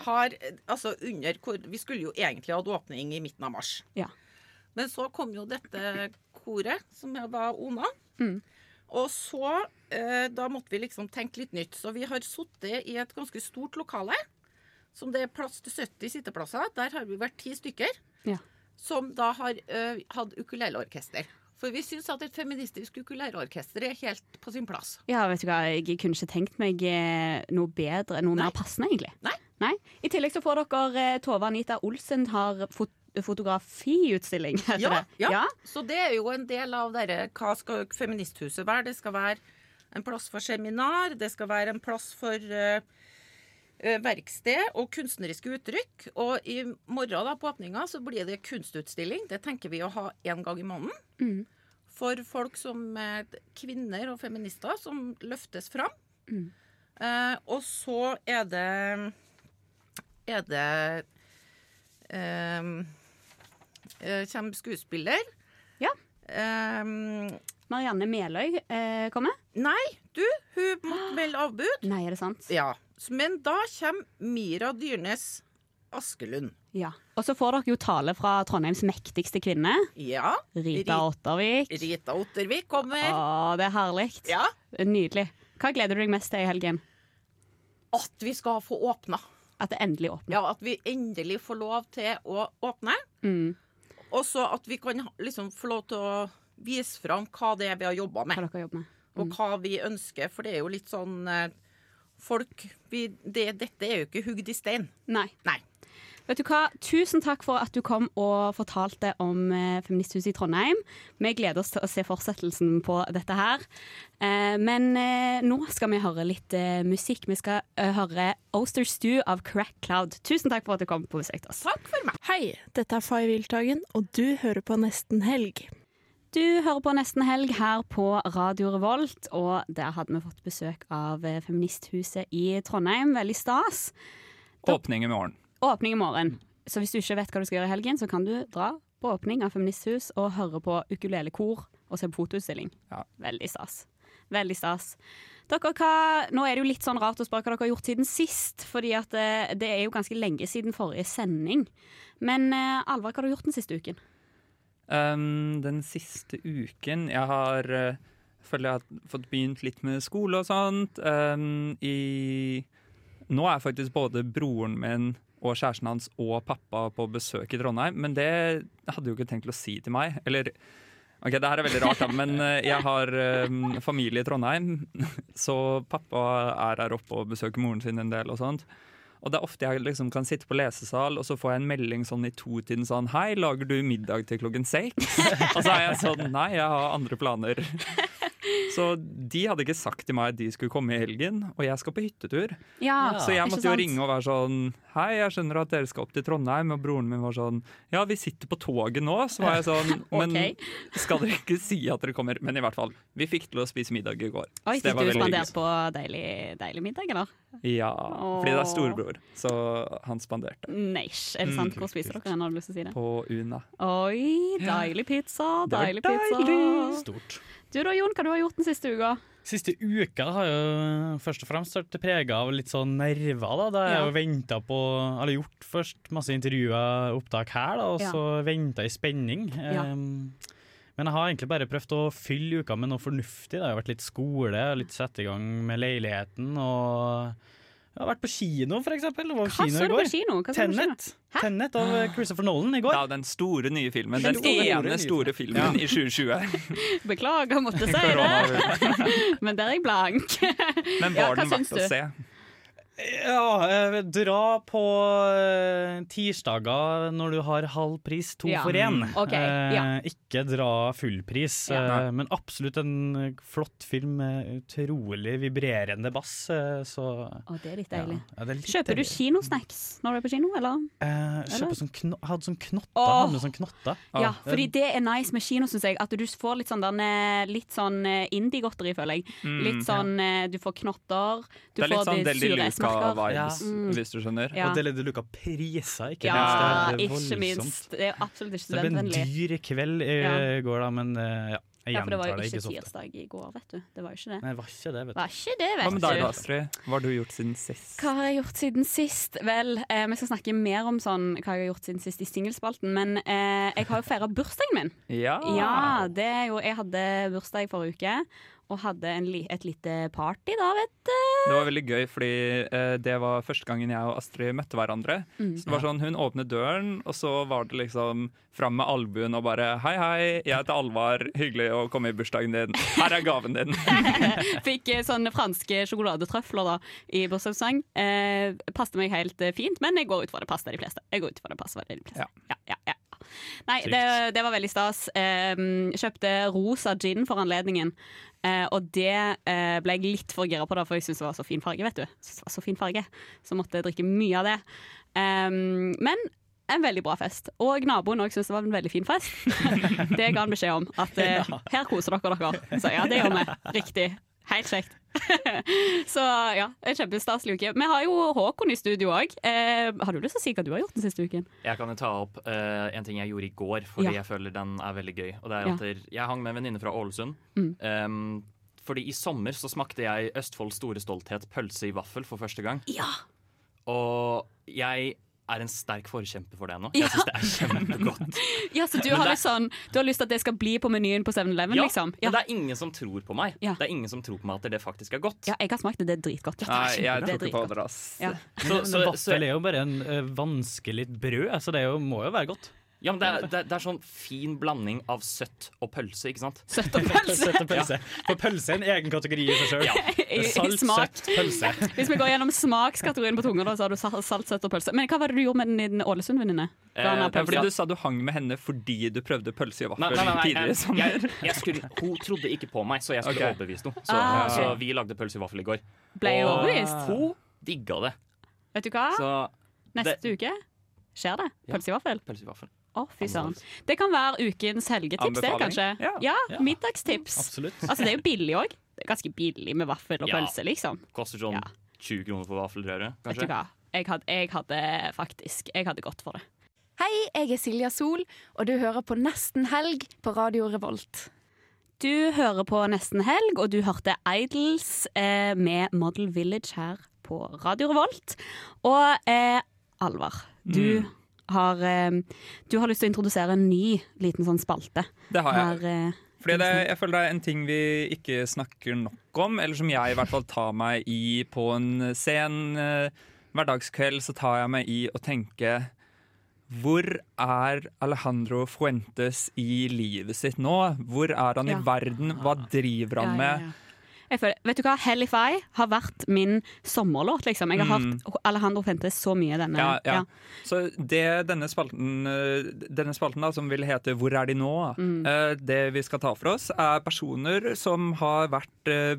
Speaker 7: har eh, altså under kor- Vi skulle jo egentlig hatt åpning i midten av mars.
Speaker 2: Ja.
Speaker 7: Men så kom jo dette koret, som var Ona.
Speaker 2: Mm.
Speaker 7: Og så eh, Da måtte vi liksom tenke litt nytt. Så vi har sittet i et ganske stort lokale. Som det er plass til 70 sitteplasser. Der har vi vært ti stykker.
Speaker 2: Ja.
Speaker 7: Som da har eh, hatt ukuleleorkester. For vi syns at et feministisk ukuleleorkester er helt på sin plass.
Speaker 2: Ja, vet du hva, jeg kunne ikke tenkt meg eh, noe bedre, noe mer passende, egentlig.
Speaker 7: Nei.
Speaker 2: I tillegg så får dere eh, Tove Anita Olsen har fot fotografiutstilling, heter
Speaker 7: Ja,
Speaker 2: det.
Speaker 7: ja. Så det er jo en del av dere, hva skal feministhuset være? Det skal være en plass for seminar, det skal være en plass for eh, eh, verksted og kunstneriske uttrykk. Og i morgen da, på åpninga så blir det kunstutstilling. Det tenker vi å ha én gang i måneden.
Speaker 2: Mm.
Speaker 7: For folk som eh, kvinner og feminister som løftes fram.
Speaker 2: Mm.
Speaker 7: Eh, og så er det er det ehm, eh, Kommer skuespiller.
Speaker 2: Ja.
Speaker 7: Marianne
Speaker 2: Meløy eh, kommer.
Speaker 7: Nei, du, hun måtte melde avbud.
Speaker 2: Nei, er det sant?
Speaker 7: Ja. Men da kommer Mira Dyrnes Askelund.
Speaker 2: Ja. Og så får dere jo tale fra Trondheims mektigste kvinne.
Speaker 7: Ja.
Speaker 2: Rita
Speaker 7: Ri-
Speaker 2: Ottervik. Ah.
Speaker 7: Rita Ottervik kommer.
Speaker 2: Å, det er herlig.
Speaker 7: Ja.
Speaker 2: Nydelig. Hva gleder du deg mest til i helgen?
Speaker 7: At vi skal få åpna.
Speaker 2: At det endelig åpner.
Speaker 7: Ja, at vi endelig får lov til å åpne.
Speaker 2: Mm.
Speaker 7: Og så at vi kan ha- liksom få lov til å vise fram hva det er vi har jobba med.
Speaker 2: Hva dere jobber med.
Speaker 7: Og hva vi ønsker, for det er jo litt sånn eh, Folk vi, det, Dette er jo ikke hugd i stein.
Speaker 2: Nei.
Speaker 7: Nei.
Speaker 2: Vet du hva? Tusen takk for at du kom og fortalte om eh, Feministhuset i Trondheim. Vi gleder oss til å se fortsettelsen på dette her. Eh, men eh, nå skal vi høre litt eh, musikk. Vi skal eh, høre Oster Stew av Crack Cloud. Tusen takk for at du kom på besøk til oss.
Speaker 7: Takk for meg.
Speaker 8: Hei, dette er Fay Wiltagen, og du hører på Nesten Helg.
Speaker 2: Du hører på Nesten Helg her på Radio Revolt, og der hadde vi fått besøk av eh, Feministhuset i Trondheim. Veldig stas.
Speaker 3: Åpning i morgen.
Speaker 2: Åpning i morgen. Så hvis du ikke vet hva du skal gjøre i helgen, så kan du dra på åpning av Feministhus og høre på ukulelekor og se på fotoutstilling. Veldig stas. Veldig stas. Dere, hva, nå er det jo litt sånn rart å spørre hva dere har gjort siden sist, fordi at eh, det er jo ganske lenge siden forrige sending. Men eh, Alvar, hva har du gjort den siste uken?
Speaker 3: Um, den siste uken Jeg har eh, føler jeg har fått begynt litt med skole og sånt. Um, I Nå er faktisk både broren min og kjæresten hans og pappa på besøk i Trondheim, men det hadde jo ikke tenkt å si til meg. Eller OK, det her er veldig rart, da, men eh, jeg har um, familie i Trondheim, så pappa er her oppe og besøker moren sin en del og sånt. Og det er ofte jeg liksom kan sitte på lesesal, og så får jeg en melding sånn i to-tiden sånn Hei, lager du middag til klokken seks? og så er jeg sånn Nei, jeg har andre planer. Så de hadde ikke sagt til meg at de skulle komme i helgen, og jeg skal på hyttetur.
Speaker 2: Ja,
Speaker 3: så jeg
Speaker 2: ikke
Speaker 3: måtte jo
Speaker 2: sant?
Speaker 3: ringe og være sånn Hei, jeg skjønner at dere skal opp til Trondheim. Og broren min var sånn Ja, vi sitter på toget nå. Så var jeg sånn Men
Speaker 2: Ok.
Speaker 3: skal dere ikke si at dere kommer? Men i hvert fall, vi fikk til å spise middag i går.
Speaker 2: Oi,
Speaker 3: så det
Speaker 2: fikk
Speaker 3: var
Speaker 2: du
Speaker 3: veldig
Speaker 2: spandert
Speaker 3: hyggelig.
Speaker 2: på deilig, deilig middag, eller?
Speaker 3: Ja, fordi det er
Speaker 2: Åh.
Speaker 3: storebror, så han spanderte.
Speaker 2: Neish, er det sant?
Speaker 3: Mm.
Speaker 2: Hvor spiser dere hen? Har du lyst til å si det?
Speaker 3: på Una.
Speaker 2: Oi, deilig pizza,
Speaker 3: Det var
Speaker 2: deilig pizza.
Speaker 3: deilig. Stort.
Speaker 2: Du da, Jon, hva du har gjort den siste uka?
Speaker 5: Siste uka har jo først og fremst vært prega av litt sånn nerver. Da, da jeg jo ventet på Eller gjort først masse intervjuer, opptak her, da, og
Speaker 9: Ja.
Speaker 5: så venta i spenning.
Speaker 9: Ja.
Speaker 5: Um, men jeg har egentlig bare prøvd å fylle uka med noe fornuftig. Det har jo vært litt skole, litt sette i gang med leiligheten, og jeg har vært på kino, for eksempel. Det var
Speaker 2: Hva
Speaker 5: kino
Speaker 2: så
Speaker 5: i
Speaker 2: du
Speaker 5: går.
Speaker 2: på kino? Hva så du på
Speaker 5: Tenet.
Speaker 2: kino?
Speaker 5: Tenet av Christopher Nolan i går.
Speaker 3: Ja, den store nye filmen.
Speaker 2: Den
Speaker 3: Den,
Speaker 2: store, nye
Speaker 3: ene store filmen i 2020.
Speaker 2: Beklager, måtte si det.
Speaker 3: Korona.
Speaker 2: Men der er jeg blank.
Speaker 3: Men
Speaker 2: Ja,
Speaker 3: var
Speaker 2: hva
Speaker 3: den verdt
Speaker 2: syns
Speaker 3: å
Speaker 2: du?
Speaker 3: se?
Speaker 5: Ja, eh, dra på eh, tirsdager når du har halv pris, to
Speaker 9: Ja.
Speaker 5: for én.
Speaker 2: Mm,
Speaker 9: Ok, ja.
Speaker 5: Eh, Ikke dra full pris,
Speaker 9: Ja.
Speaker 5: eh, men absolutt en eh, flott film med utrolig vibrerende bass. eh, Så
Speaker 2: Å, det er litt deilig.
Speaker 5: Ja, det er litt
Speaker 2: Kjøper du
Speaker 5: deilig.
Speaker 2: kinosnacks når du er på kino, eller?
Speaker 5: Eh,
Speaker 2: Eller?
Speaker 5: kjøper sånn kno hadde sånn knotter.
Speaker 2: Åh.
Speaker 5: Hadde med sånn knotter.
Speaker 2: Ja, fordi det er nice med kino, syns jeg. At du får litt sånn, den, eh, litt sånn eh, indie-godteri, føler jeg.
Speaker 3: Mm,
Speaker 2: Litt sånn eh, du får knotter, du
Speaker 3: Det er
Speaker 2: får
Speaker 3: litt sånn
Speaker 2: de
Speaker 3: Deli
Speaker 2: sure esmerker.
Speaker 3: Luca-vibes,
Speaker 2: Mm.
Speaker 3: hvis du skjønner.
Speaker 2: Ja. Og Deli
Speaker 5: Du lukker priser, ikke
Speaker 2: Ja,
Speaker 5: minst. Det er
Speaker 2: ikke
Speaker 5: voldsomt.
Speaker 2: minst. Det er absolutt ikke
Speaker 5: Så det ble en
Speaker 2: studentvennlig.
Speaker 5: dyr kveld i
Speaker 2: Ja.
Speaker 5: går, da, men eh, ja. Jeg
Speaker 2: Ja, for det
Speaker 5: gjentar
Speaker 2: var jo
Speaker 5: det
Speaker 2: ikke
Speaker 5: ikke så ofte.
Speaker 2: tirsdag i går, vet du. Det var jo ikke det.
Speaker 5: Nei, det var ikke det, vet du.
Speaker 2: Var ikke det, vet
Speaker 3: Hva med deg,
Speaker 2: du.
Speaker 3: da, Astrid? Hva har du gjort siden sist?
Speaker 2: Hva har jeg gjort siden sist? Vel, eh, vi skal snakke mer om sånn, hva jeg har gjort siden sist i singelspalten, men eh, jeg har jo feira bursdagen min.
Speaker 3: Ja.
Speaker 2: Ja, det er jo, jeg hadde bursdag forrige uke, og hadde en, li- et lite party da, vet du.
Speaker 3: Det var veldig gøy, fordi eh, det var første gangen jeg og Astrid møtte hverandre.
Speaker 2: Mm.
Speaker 3: Så det var sånn, Hun åpnet døren, og så var det liksom fram med albuen og bare Hei, hei, jeg heter Alvar. Hyggelig å komme i bursdagen din. Her er gaven din.
Speaker 2: Fikk eh, sånne franske sjokoladetrøfler da, i bursdagssang. Eh, passte meg helt eh, fint, men jeg går ut fra det passer de fleste. Jeg går ut fra det passer de fleste. Ja, ja, ja. Nei, det, det var veldig stas. Eh, kjøpte rosa gin for anledningen. Eh, og det eh, ble jeg litt for gira på, da, for jeg syntes det var så fin farge. vet du Jeg synes det var Så fin farge Så måtte jeg drikke mye av det. Eh, men en veldig bra fest. Og naboen òg syntes det var en veldig fin fest. Det ga han beskjed om. At eh, her koser dere dere. Så ja, det gjør vi. Riktig. Helt kjekt. Så ja, en kjempestaselig uke. Vi har jo Håkon i studio òg. Eh, har du lyst til å si hva du har gjort den siste uken?
Speaker 10: Jeg kan jo ta opp eh, en ting jeg gjorde i går, fordi
Speaker 2: Ja.
Speaker 10: jeg føler den er veldig gøy. Og det er
Speaker 2: Ja.
Speaker 10: at der- Jeg hang med en venninne fra Ålesund.
Speaker 2: Mm.
Speaker 10: Em, fordi i sommer så smakte jeg Østfolds store stolthet pølse i vaffel for første gang. Og jeg er en sterk forkjemper for det nå. Jeg syns det er kjempegodt.
Speaker 2: Ja, så du
Speaker 10: Men
Speaker 2: har,
Speaker 10: det-
Speaker 2: litt sånn, du har lyst til at det skal bli på menyen på 7-Eleven,
Speaker 10: Ja,
Speaker 2: liksom?
Speaker 10: Men det er ingen som tror på meg. Det er ingen som tror på meg at det faktisk er godt.
Speaker 2: Ja, jeg har smakt det. Det er dritgodt.
Speaker 10: Nei, jeg tror ikke på
Speaker 2: dritgodt.
Speaker 10: det, ass.
Speaker 2: Ja.
Speaker 5: Men,
Speaker 10: Så- så-
Speaker 5: men vaffel
Speaker 10: så-
Speaker 5: er jo bare en eh, vanskelig brød, så det er jo, må jo være godt.
Speaker 10: Ja, men det er, det, er, det er sånn fin blanding av søtt og pølse, ikke sant?
Speaker 2: Søtt
Speaker 5: og pølse. Søtt og pølse. For pølse er en egen kategori i seg sjøl.
Speaker 2: I- i
Speaker 5: Salt,
Speaker 2: smak.
Speaker 5: søtt, pølse.
Speaker 2: Hvis vi går gjennom smakskategorien på tunga, da, så har du sal- salt, søtt og pølse. Men hva var det du gjorde med den i den Ålesund-venninne?
Speaker 3: Eh,
Speaker 2: Den her
Speaker 3: det er
Speaker 2: pølsa.
Speaker 3: fordi du sa du hang med henne fordi du prøvde pølse i
Speaker 10: Nei,
Speaker 3: vaffel
Speaker 10: nei, nei, nei,
Speaker 3: tidligere i
Speaker 10: jeg,
Speaker 3: sommer.
Speaker 10: jeg, jeg skulle, hun trodde ikke på meg, så jeg skulle
Speaker 3: Ok.
Speaker 10: overbevise henne. Så,
Speaker 2: Ah, ok.
Speaker 10: så vi lagde pølse i vaffel i går.
Speaker 2: Ble jeg
Speaker 10: Og
Speaker 2: overbevist? Ah.
Speaker 10: Hun digga det.
Speaker 2: Vet du hva?
Speaker 10: Så
Speaker 2: Neste uke skjer det. Pølse i vaffel.
Speaker 10: pølse i vaffel.
Speaker 2: Å, fy søren. Det kan være ukens helgetips, det,
Speaker 10: Anbefaling.
Speaker 2: kanskje. Ja, middagstips.
Speaker 10: Absolutt.
Speaker 2: Altså, det er jo billig òg. Det er ganske billig med vaffel og
Speaker 10: Ja.
Speaker 2: pølse, liksom.
Speaker 10: Koster sånn 20 kroner for vaffelrøre,
Speaker 2: Vet du
Speaker 10: kanskje.
Speaker 2: hva? Jeg hadde, jeg hadde faktisk Jeg hadde gått for det.
Speaker 8: Hei, jeg er Silja Sol, og du hører på Nesten helg på Radio Revolt.
Speaker 2: Du hører på Nesten Helg, og du hørte Idols eh, med Model Village her på Radio Revolt. Og eh, Alvar, du
Speaker 10: Mm.
Speaker 2: har eh, Du har lyst til å introdusere en ny liten sånn spalte.
Speaker 3: Det har jeg.
Speaker 2: Her, eh,
Speaker 3: Fordi det, jeg føler det er en ting vi ikke snakker nok om, eller som jeg i hvert fall tar meg i på en sen eh, hverdagskveld, så tar jeg meg i å tenke hvor er Alejandro Fuentes i livet sitt nå? Hvor er han
Speaker 2: Ja.
Speaker 3: i verden? Hva driver han
Speaker 2: Ja, ja,
Speaker 3: med?
Speaker 2: jeg føler, vet du hva, Hellify har vært min sommerlåt, liksom. Jeg har
Speaker 3: Mm.
Speaker 2: hørt Alejandro Fentes så mye denne.
Speaker 3: Ja, ja. Så det denne spalten, eh, denne spalten da, som vil hete Hvor er de nå?
Speaker 2: Mm.
Speaker 3: Eh, Det vi skal ta for oss, er personer som har vært eh,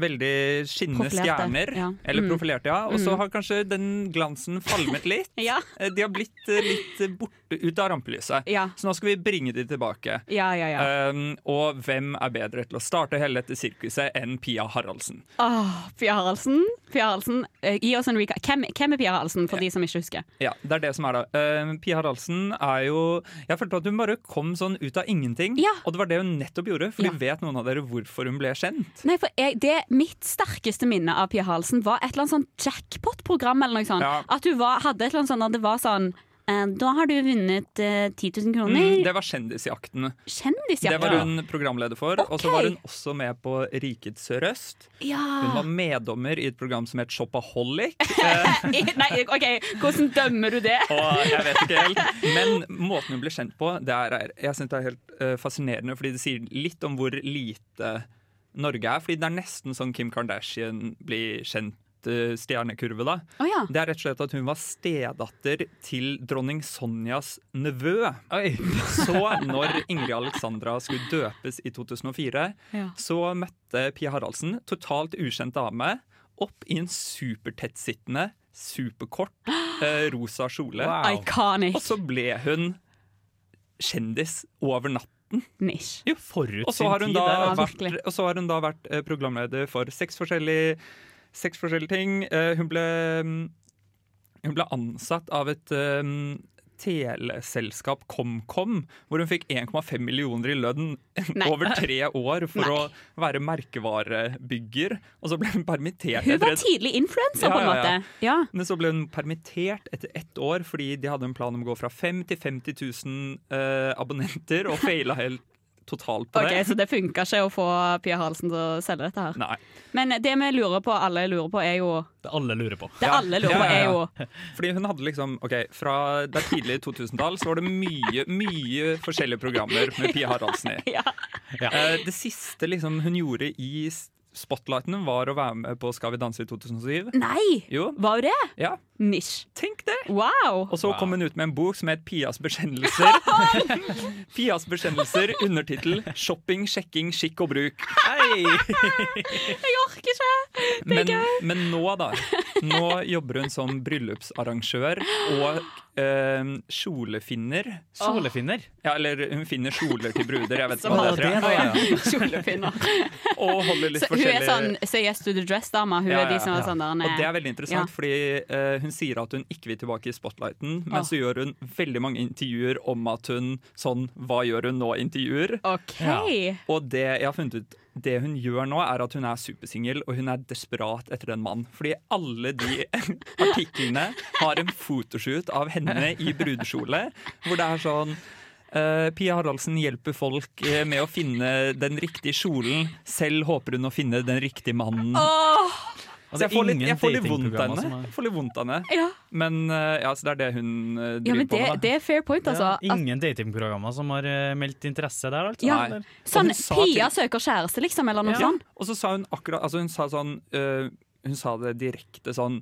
Speaker 3: veldig skinnende
Speaker 2: Profilerte,
Speaker 3: stjerner.
Speaker 2: ja.
Speaker 3: Eller
Speaker 2: Mm.
Speaker 3: profilerte, ja. Og
Speaker 2: Mm.
Speaker 3: så har kanskje den glansen falmet litt. Eh, De har blitt eh, litt borte ut av rampelyset. Så nå skal vi bringe de tilbake.
Speaker 2: Ja, ja, ja.
Speaker 3: Um, og hvem er bedre til å starte hele dette sirkuset enn Pia Haraldsen?
Speaker 2: Åh, Pia Haraldsen. Pia Haraldsen, eh, gi oss en recap. Hvem, hvem er Pia Haraldsen, for de som ikke husker?
Speaker 3: Ja, det er det som er det. Eh, Pia Haraldsen er jo Jeg følte at hun bare kom sånn ut av ingenting. Og det var det hun nettopp gjorde. For vet noen av dere hvorfor hun ble kjent?
Speaker 2: Nei, for jeg, det, Mitt sterkeste minne av Pia Halsen var et eller annet sånn jackpot-program. eller noe sånt.
Speaker 3: Ja.
Speaker 2: At hun var, hadde et eller annet sånt, at det var sånn eh, Da har du vunnet eh, 10 000 kroner.
Speaker 3: Mm, det var Kjendisjakten.
Speaker 2: Kjendisjakten.
Speaker 3: Det var hun programleder for. Og så var hun også med på Rikets Røst.
Speaker 2: Ja.
Speaker 3: Hun var meddommer i et program som het Shopaholic.
Speaker 2: Nei, OK, hvordan dømmer du det?
Speaker 3: Og jeg vet ikke helt. Men måten hun ble kjent på, det er, jeg synes det er helt eh, fascinerende. Fordi det sier litt om hvor lite Norge er. Fordi det er nesten sånn Kim Kardashian blir kjent. eh, Stjernekurve, da.
Speaker 2: Å ja.
Speaker 3: Det er rett og slett at hun var stedatter til dronning Sonjas nevø. Så når Ingrid Alexandra skulle døpes i 2004,
Speaker 9: Ja.
Speaker 3: så møtte Pia Haraldsen, totalt ukjent dame, opp i en supertettsittende, superkort, eh, rosa kjole.
Speaker 2: Wow. Iconic.
Speaker 3: Og så ble hun kjendis over natten.
Speaker 2: Nish.
Speaker 3: Jo,
Speaker 5: forut
Speaker 3: og så
Speaker 5: sin
Speaker 3: har hun
Speaker 5: tid,
Speaker 3: da
Speaker 5: det. Ja,
Speaker 3: vært, og så har hun da vært eh, programleder for seks forskjellige, seks forskjellige ting. Eh, Hun ble, mm, hun ble ansatt av et mm, teleselskap KomKom, hvor hun fikk 1,5 millioner i lønn
Speaker 2: Nei.
Speaker 3: over tre år for
Speaker 2: Nei.
Speaker 3: å være merkevarebygger, og så ble hun permittert.
Speaker 2: Hun var
Speaker 3: etter et-
Speaker 2: tidlig influenser, på en
Speaker 3: Ja,
Speaker 2: måte.
Speaker 3: ja,
Speaker 2: Ja.
Speaker 3: Men så ble hun permittert etter ett år fordi de hadde en plan om å gå fra 5 til 50 000 eh, abonnenter, og feila helt totalt på
Speaker 2: Ok,
Speaker 3: det.
Speaker 2: Så det funka ikke å få Pia Halsen til å selge dette her.
Speaker 3: Nei.
Speaker 2: Men det vi lurer på, alle lurer på, er jo
Speaker 5: Det alle lurer på.
Speaker 2: Det alle lurer på er jo-
Speaker 3: Fordi hun hadde liksom Ok, fra det tidlige 2000-tall så var det mye, mye forskjellige programmer med Pia Haraldsen i. Eh, Det siste liksom hun gjorde i s- Spotlighten var å være med på Skal vi danse i 2007.
Speaker 2: Nei!
Speaker 3: Jo.
Speaker 2: Var hun det?
Speaker 3: Ja.
Speaker 2: Nish.
Speaker 3: Tenk det!
Speaker 2: Wow!
Speaker 3: Og så kom hun ut med en bok som het Pias bekjennelser. Pias bekjennelser, undertittel 'Shopping, sjekking, skikk og bruk'.
Speaker 2: Jeg orker ikke! Det er
Speaker 3: Men,
Speaker 2: gøy.
Speaker 3: men nå, da. Nå jobber hun som bryllupsarrangør og eh, kjolefinner.
Speaker 5: Kjolefinner?
Speaker 3: Ja, eller hun finner kjoler til bruder. Jeg vet
Speaker 2: Som
Speaker 3: ikke hva
Speaker 2: alle
Speaker 3: det heter.
Speaker 2: det,
Speaker 3: Ja, ja.
Speaker 2: Kjolepinner.
Speaker 3: Og holder litt
Speaker 2: Så hun er
Speaker 3: forskjellig
Speaker 2: sånn så yes to the dress-dame. Hun
Speaker 3: Ja,
Speaker 2: er de
Speaker 3: ja,
Speaker 2: som er
Speaker 3: ja.
Speaker 2: sånn der
Speaker 3: Og det er veldig
Speaker 2: ja.
Speaker 3: interessant, fordi eh, hun sier at hun ikke vil tilbake i spotlighten, men
Speaker 2: Åh.
Speaker 3: så gjør hun veldig mange intervjuer om at hun sånn Hva gjør hun nå-intervjuer.
Speaker 2: Ja.
Speaker 3: Og det jeg har funnet ut det hun gjør nå, er at hun er supersingel, og hun er desperat etter en mann. Fordi alle de artiklene har en photoshoot av henne i brudekjole, hvor det er sånn eh, Pia Haraldsen hjelper folk eh, med å finne den riktige kjolen. Selv håper hun å finne den riktige mannen. Altså,
Speaker 2: Åh!
Speaker 3: Så
Speaker 5: Altså,
Speaker 3: jeg får litt, jeg får litt
Speaker 5: Ingen
Speaker 3: vondt av
Speaker 5: datingprogrammer
Speaker 3: henne.
Speaker 5: som er-
Speaker 3: altså. Jeg får litt vondt av henne.
Speaker 2: Ja.
Speaker 3: Men eh, ja, så det er det hun eh, driver
Speaker 2: Ja, men det,
Speaker 3: på med. da.
Speaker 2: det er fair point, altså.
Speaker 5: Ja, ingen datingprogrammer som har eh, meldt interesse der, altså?
Speaker 2: Ja.
Speaker 5: Eller?
Speaker 2: Sånn
Speaker 5: Og hun sa
Speaker 2: Pia
Speaker 5: til-
Speaker 2: søker kjæreste, liksom, eller noe
Speaker 3: Ja.
Speaker 2: sånt.
Speaker 3: Og så sa hun akkurat altså Hun sa sånn øh, Hun sa det direkte sånn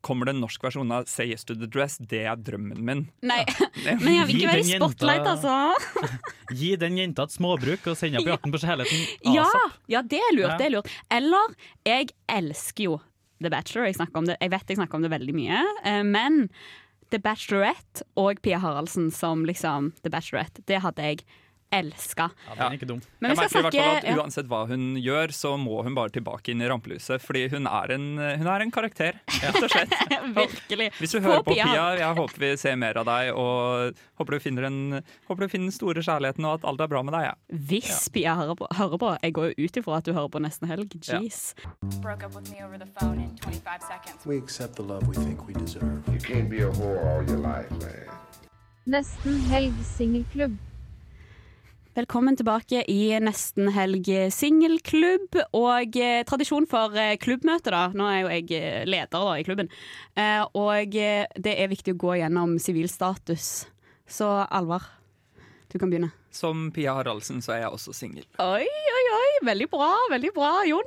Speaker 3: Kommer det en norsk versjon av Say Yes to the Dress? Det er drømmen min.
Speaker 2: Nei, men jeg vil
Speaker 5: Gi
Speaker 2: ikke være
Speaker 5: den
Speaker 2: i
Speaker 5: jenta-
Speaker 2: spotlight, altså.
Speaker 5: Gi den jenta et småbruk og send henne på jakten på kjærligheten.
Speaker 2: Ja,
Speaker 5: ASAP.
Speaker 2: ja, det er lurt.
Speaker 5: Ja.
Speaker 2: det er lurt Eller jeg elsker jo The Bachelor. Jeg, snakker om det, jeg vet jeg snakker om det veldig mye. eh, Men The Bachelorette og Pia Haraldsen som liksom The Bachelorette, det hadde jeg elska.
Speaker 5: Ja, den er ikke dum.
Speaker 2: Men
Speaker 3: jeg
Speaker 2: vi
Speaker 3: merker
Speaker 2: skal
Speaker 3: i hvert fall at
Speaker 2: snakke- ja.
Speaker 3: Uansett hva hun gjør, så må hun bare tilbake inn i rampelyset. Fordi hun er en, hun er en karakter, rett og slett.
Speaker 2: Virkelig.
Speaker 3: Hvis du
Speaker 2: Få
Speaker 3: hører på
Speaker 2: Pia.
Speaker 3: Pia, jeg håper vi ser mer av deg. Og håper du finner den, håper du finner den store kjærligheten, og at alt er bra med deg. Ja.
Speaker 2: Hvis Pia hører på, hører på Jeg går jo ut ifra at du hører på nesten helg.
Speaker 3: Ja.
Speaker 2: Jeez.
Speaker 11: Broke up with me over the phone in 25 seconds.
Speaker 12: We accept the love we think we deserve. You can't be a whore all your life, man.
Speaker 13: Nesten helg singelklubb.
Speaker 2: Velkommen tilbake i Nesten helg singelklubb. Og eh, tradisjon for eh, klubbmøte, da. Nå er jo jeg eh, leder da, i klubben. Eh, og eh, det er viktig å gå gjennom sivilstatus. Så Alvar, du kan begynne.
Speaker 3: Som Pia Haraldsen så er jeg også singel.
Speaker 2: Oi, oi, oi. Veldig bra, veldig bra, Jon.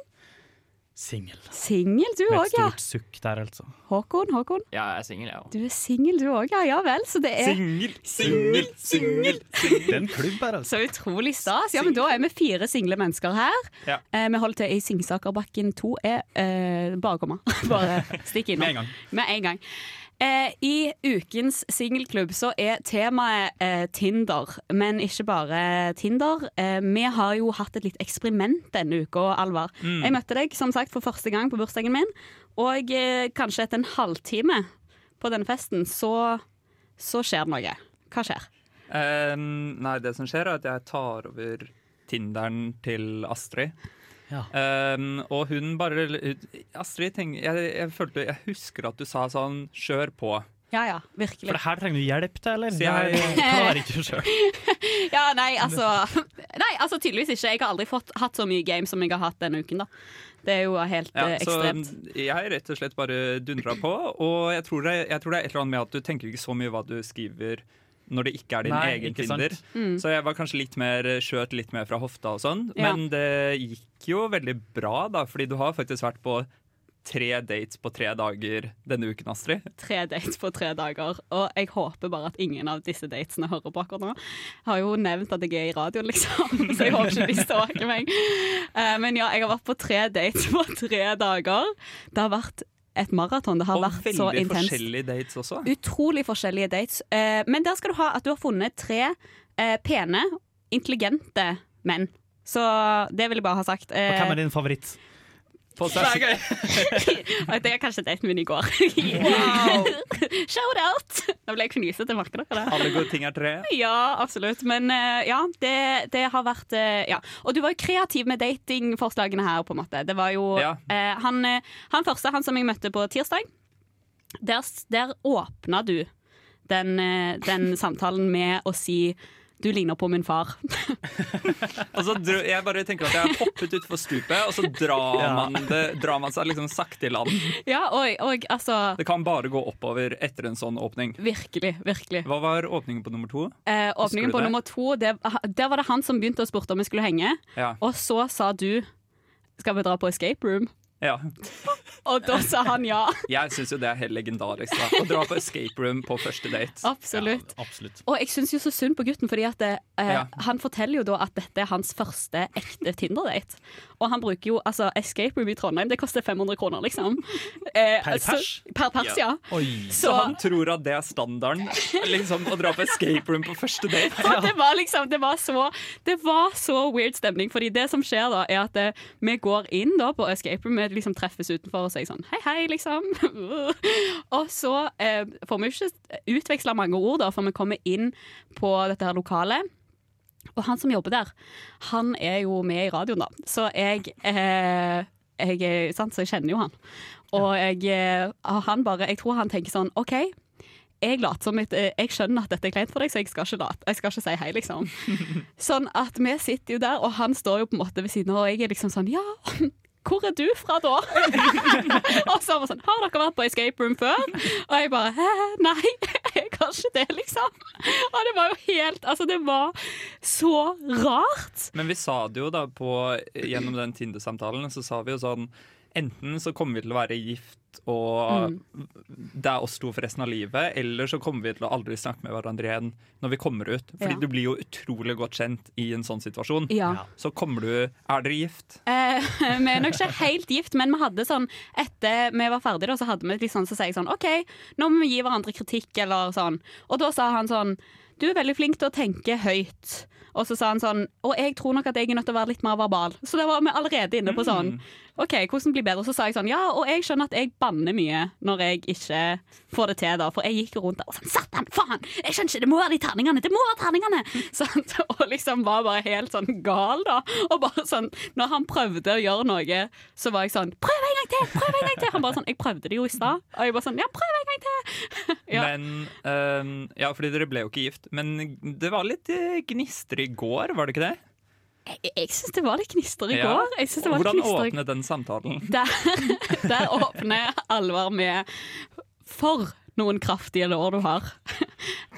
Speaker 5: Singel.
Speaker 2: Singel du
Speaker 5: Med et
Speaker 2: òg, ja.
Speaker 5: stort sukk der, altså.
Speaker 2: Håkon, Håkon.
Speaker 10: Ja, jeg er singel, jeg òg.
Speaker 2: Du er singel du òg, ja. Ja vel. Så det er
Speaker 5: Singel, singel, singel! Det er en klubb her, altså.
Speaker 2: Så utrolig stas. Ja, men Da er vi fire single mennesker her.
Speaker 5: Ja.
Speaker 2: Eh, vi holder til i E, Singsakerbakken 2. Er, eh, bare komme. Bare stikk innom.
Speaker 5: Med en gang.
Speaker 2: Med en gang. Eh, I ukens singelklubb så er temaet eh, Tinder, men ikke bare Tinder. Eh, vi har jo hatt et litt eksperiment denne uka, Alvar.
Speaker 9: Mm.
Speaker 2: Jeg møtte deg som sagt for første gang på bursdagen min, og eh, kanskje etter en halvtime på denne festen så, så skjer det noe. Hva skjer?
Speaker 3: Eh, nei, det som skjer er at jeg tar over Tinderen til Astrid. Eh, og hun bare Astrid, tenk, jeg, jeg, følte, jeg husker at du sa sånn 'kjør på'.
Speaker 2: Ja ja, virkelig.
Speaker 5: For det her trenger du hjelp til, eller?
Speaker 3: Så jeg-
Speaker 5: Det her klarer ikke du selv.
Speaker 2: Ja, nei, altså Nei, altså tydeligvis ikke. Jeg har aldri fått, hatt så mye game som jeg har hatt denne uken, da. Det er jo helt
Speaker 3: Ja,
Speaker 2: eh,
Speaker 3: så
Speaker 2: ekstremt.
Speaker 3: jeg rett og slett bare dundra på. Og jeg tror, det, jeg tror det er et eller annet med at du tenker ikke så mye hva du skriver når det ikke er din
Speaker 5: Nei,
Speaker 3: egen
Speaker 5: ikke sant.
Speaker 3: Tinder.
Speaker 5: Mm.
Speaker 3: Så jeg var kanskje litt mer skjøt litt mer fra hofta og sånn.
Speaker 5: Ja.
Speaker 3: Men det gikk jo veldig bra, da, fordi du har faktisk vært på tre dates på tre dager denne uken, Astrid.
Speaker 2: Tre dates på tre dager, og jeg håper bare at ingen av disse datene hører på akkurat nå. Jeg har jo nevnt at jeg er i radioen, liksom, så jeg håper ikke de stalker meg. Eh, Men ja, jeg har vært på tre dates på tre dager. Det har vært et maraton. Det har vært
Speaker 3: Veldig
Speaker 2: så intenst.
Speaker 3: forskjellige dates også.
Speaker 2: Utrolig forskjellige dates. Eh, men der skal du ha at du har funnet tre eh, pene, intelligente menn. Så det vil jeg bare ha sagt.
Speaker 5: Og
Speaker 2: Eh,
Speaker 5: hvem er din favoritt?
Speaker 2: og Eh, det er kanskje daten min i går. Shout out! Nå ble jeg knuset, jeg merker dere det.
Speaker 3: Alle gode ting er tre.
Speaker 2: Ja, absolutt. Men eh, ja, det, det har vært eh, Ja. Og du var jo kreativ med datingforslagene her, på en måte. Det var jo
Speaker 3: Ja.
Speaker 2: eh, han, eh, han første, han som jeg møtte på tirsdag, der, s- der åpna du den, eh, den samtalen med å si du ligner på min far.
Speaker 3: Og så dro, jeg bare tenker at jeg har hoppet utfor stupet, og så drar
Speaker 5: Ja.
Speaker 3: man, det, drar man seg liksom sakte i land.
Speaker 2: ja, og, og altså
Speaker 3: Det kan bare gå oppover etter en sånn åpning.
Speaker 2: Virkelig, virkelig.
Speaker 3: Hva var åpningen på nummer to?
Speaker 2: Eh,
Speaker 3: Husker
Speaker 2: åpningen
Speaker 3: du
Speaker 2: på
Speaker 3: det?
Speaker 2: nummer to, det, der var det han som begynte å spurte om vi skulle henge.
Speaker 3: Ja.
Speaker 2: Og så sa du skal vi dra på escape room?
Speaker 3: ja.
Speaker 2: Og da sa han ja.
Speaker 3: Jeg syns jo det er helt legendarisk. Da. Å dra på escape room på første date.
Speaker 2: Absolutt.
Speaker 3: Absolutt.
Speaker 2: Og jeg syns jo så synd på gutten, fordi at det, eh,
Speaker 3: Ja.
Speaker 2: han forteller jo da at dette er hans første ekte Tinder-date. Og han bruker jo altså escape room i Trondheim, det koster 500 kroner, liksom. Eh,
Speaker 3: Per
Speaker 2: så-
Speaker 3: pers?
Speaker 2: Per pers, ja.
Speaker 3: Oi. Så,
Speaker 2: Så-
Speaker 3: han tror at det er standarden? Liksom Å dra på escape room på første date?
Speaker 2: Og det var liksom, det var, så, det var så weird stemning, fordi det som skjer da, er at eh, vi går inn da på escape room, vi liksom treffes utenfor og sier sånn hei, hei, liksom. og så eh, får vi jo ikke utveksla mange ord da, før vi kommer inn på dette her lokalet. Og han som jobber der, han er jo med i radioen da, så jeg, eh, jeg, er- sant? Så jeg kjenner jo han. Og jeg, eh, og han bare, jeg tror han tenker sånn, ok, jeg later som et, eh, jeg skjønner at dette er kleint for deg, så jeg skal ikke, late, jeg skal ikke si hei, liksom. Sånn at vi sitter jo der, og han står jo på en måte ved siden av, og jeg er liksom sånn, ja, hvor er du fra da? og så var han sånn, har dere vært på escape room før? Og jeg bare, hæ, nei, jeg har ikke det, liksom. Og det var jo helt, altså det var så rart.
Speaker 3: Men vi sa det jo da på, gjennom den Tinder-samtalen, så sa vi jo sånn Enten så kommer vi til å være gift, og
Speaker 2: Mm.
Speaker 3: det er oss to for resten av livet, eller så kommer vi til å aldri snakke med hverandre igjen når vi kommer ut. Fordi
Speaker 2: Ja.
Speaker 3: du blir jo utrolig godt kjent i en sånn situasjon.
Speaker 2: Ja. Ja.
Speaker 3: Så kommer du Er dere gift?
Speaker 2: Eh, vi er nok ikke helt gift, men vi hadde sånn etter vi var ferdige, da, så hadde vi litt sånn, så sier jeg sånn OK, nå må vi gi hverandre kritikk, eller sånn. Og da sa han sånn Du er veldig flink til å tenke høyt. Og så sa han sånn Og jeg tror nok at jeg er nødt til å være litt mer verbal. Så da var vi allerede inne på sånn. OK, hvordan bli bedre? Så sa jeg sånn Ja, og jeg skjønner at jeg banner mye når jeg ikke får det til, da. For jeg gikk jo rundt der og sånn Satan, faen! Jeg skjønner ikke, det må være de terningene! Det må være terningene! Sant? Og liksom var bare helt sånn gal, da. Og bare sånn Når han prøvde å gjøre noe, så var jeg sånn Prøv en gang til! Prøv en gang til! Han bare sånn Jeg prøvde det jo i stad. Og jeg bare sånn Ja, prøv en gang til! Ja.
Speaker 3: Men ehm, Ja, fordi dere ble jo ikke gift. Men det var litt eh, gnister i går, var det ikke det?
Speaker 2: Jeg, jeg syns det var litt gnister i
Speaker 3: Ja.
Speaker 2: går. Jeg synes det var litt
Speaker 3: Hvordan
Speaker 2: gnister i-
Speaker 3: åpnet den samtalen?
Speaker 2: Der, der åpner alvor med For noen kraftige lår du har.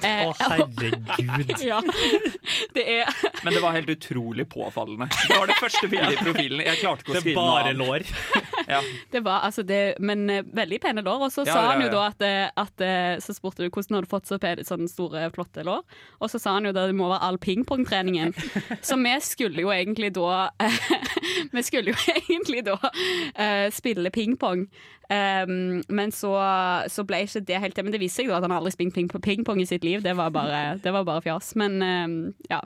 Speaker 2: Eh,
Speaker 3: herregud.
Speaker 2: ja. Det er
Speaker 3: Men det var helt utrolig påfallende. Det var det første bildet i profilen. Jeg klarte ikke å
Speaker 5: Det er
Speaker 3: skrive
Speaker 5: bare
Speaker 3: noe annet. Ja.
Speaker 2: Det var, altså, det, men eh, veldig pene lår. Og så
Speaker 3: Ja,
Speaker 2: sa
Speaker 3: ja,
Speaker 2: han jo da
Speaker 3: ja.
Speaker 2: at, eh, at eh, Så spurte du hvordan har du fått så pene, sånne store, flotte lår. Og så sa han jo da det må være all pingpongtreningen. Så vi skulle jo egentlig da Vi skulle jo egentlig da eh, spille pingpong. Um, men så, så ble ikke det helt til. Men det viste seg jo at han aldri spilte ping- pingpong i sitt liv. Det var bare, det var bare fjas. Men um, ja.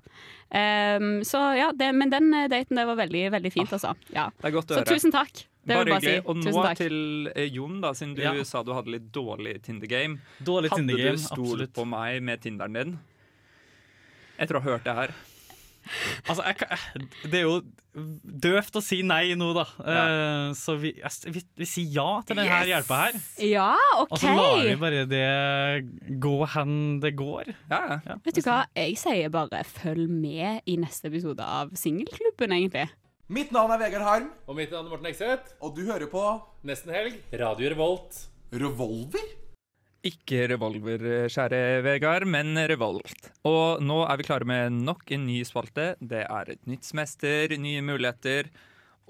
Speaker 2: Um, så ja, det, men den eh, daten det var veldig, veldig fint, altså. Ja.
Speaker 3: Det er godt å
Speaker 2: Så
Speaker 3: høre.
Speaker 2: tusen takk. Det
Speaker 3: bare
Speaker 2: vil jeg bare si.
Speaker 3: hyggelig. Og nå
Speaker 2: Tusen takk.
Speaker 3: til eh, Jon, da, siden du
Speaker 5: Ja.
Speaker 3: sa du hadde litt dårlig Tinder-game.
Speaker 5: Dårlig
Speaker 3: hadde
Speaker 5: Tinder-game,
Speaker 3: du stolt
Speaker 5: absolutt.
Speaker 3: på meg med Tinderen din? Etter å ha hørt det her.
Speaker 5: Altså, jeg, kan- det er jo døvt å si nei nå, da. Eh, så vi, jeg s- vi, vi sier ja til denne her
Speaker 2: Yes!
Speaker 5: hjelpa her.
Speaker 2: Ja, OK.
Speaker 5: Og så lar vi bare det gå hen det går. Ja.
Speaker 2: Vet du hva, jeg sier bare følg med i neste episode av Singelklubben, egentlig.
Speaker 9: Mitt navn er Vegard Harm. Og mitt navn er Morten Ekseth. Og du hører på Nesten Helg. Radio Revolt. Revolver?
Speaker 3: Ikke revolver, kjære Vegard, men revolt. Og nå er vi klare med nok en ny spalte. Det er et nytt semester, nye muligheter.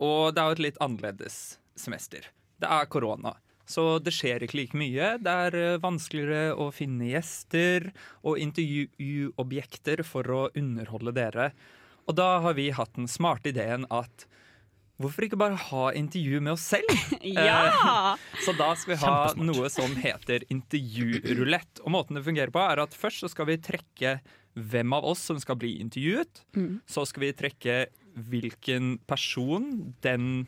Speaker 3: Og det er jo et litt annerledes semester. Det er korona. Så det skjer ikke like mye. Det er eh, vanskeligere å finne gjester og intervjuobjekter for å underholde dere. Og da har vi hatt den smarte ideen at hvorfor ikke bare ha intervju med oss selv?
Speaker 2: Ja!
Speaker 3: Eh, Så da skal vi ha noe som heter intervjurulett. Og måten det fungerer på er at først så skal vi trekke hvem av oss som skal bli intervjuet.
Speaker 2: Mm.
Speaker 3: Så skal vi trekke hvilken person den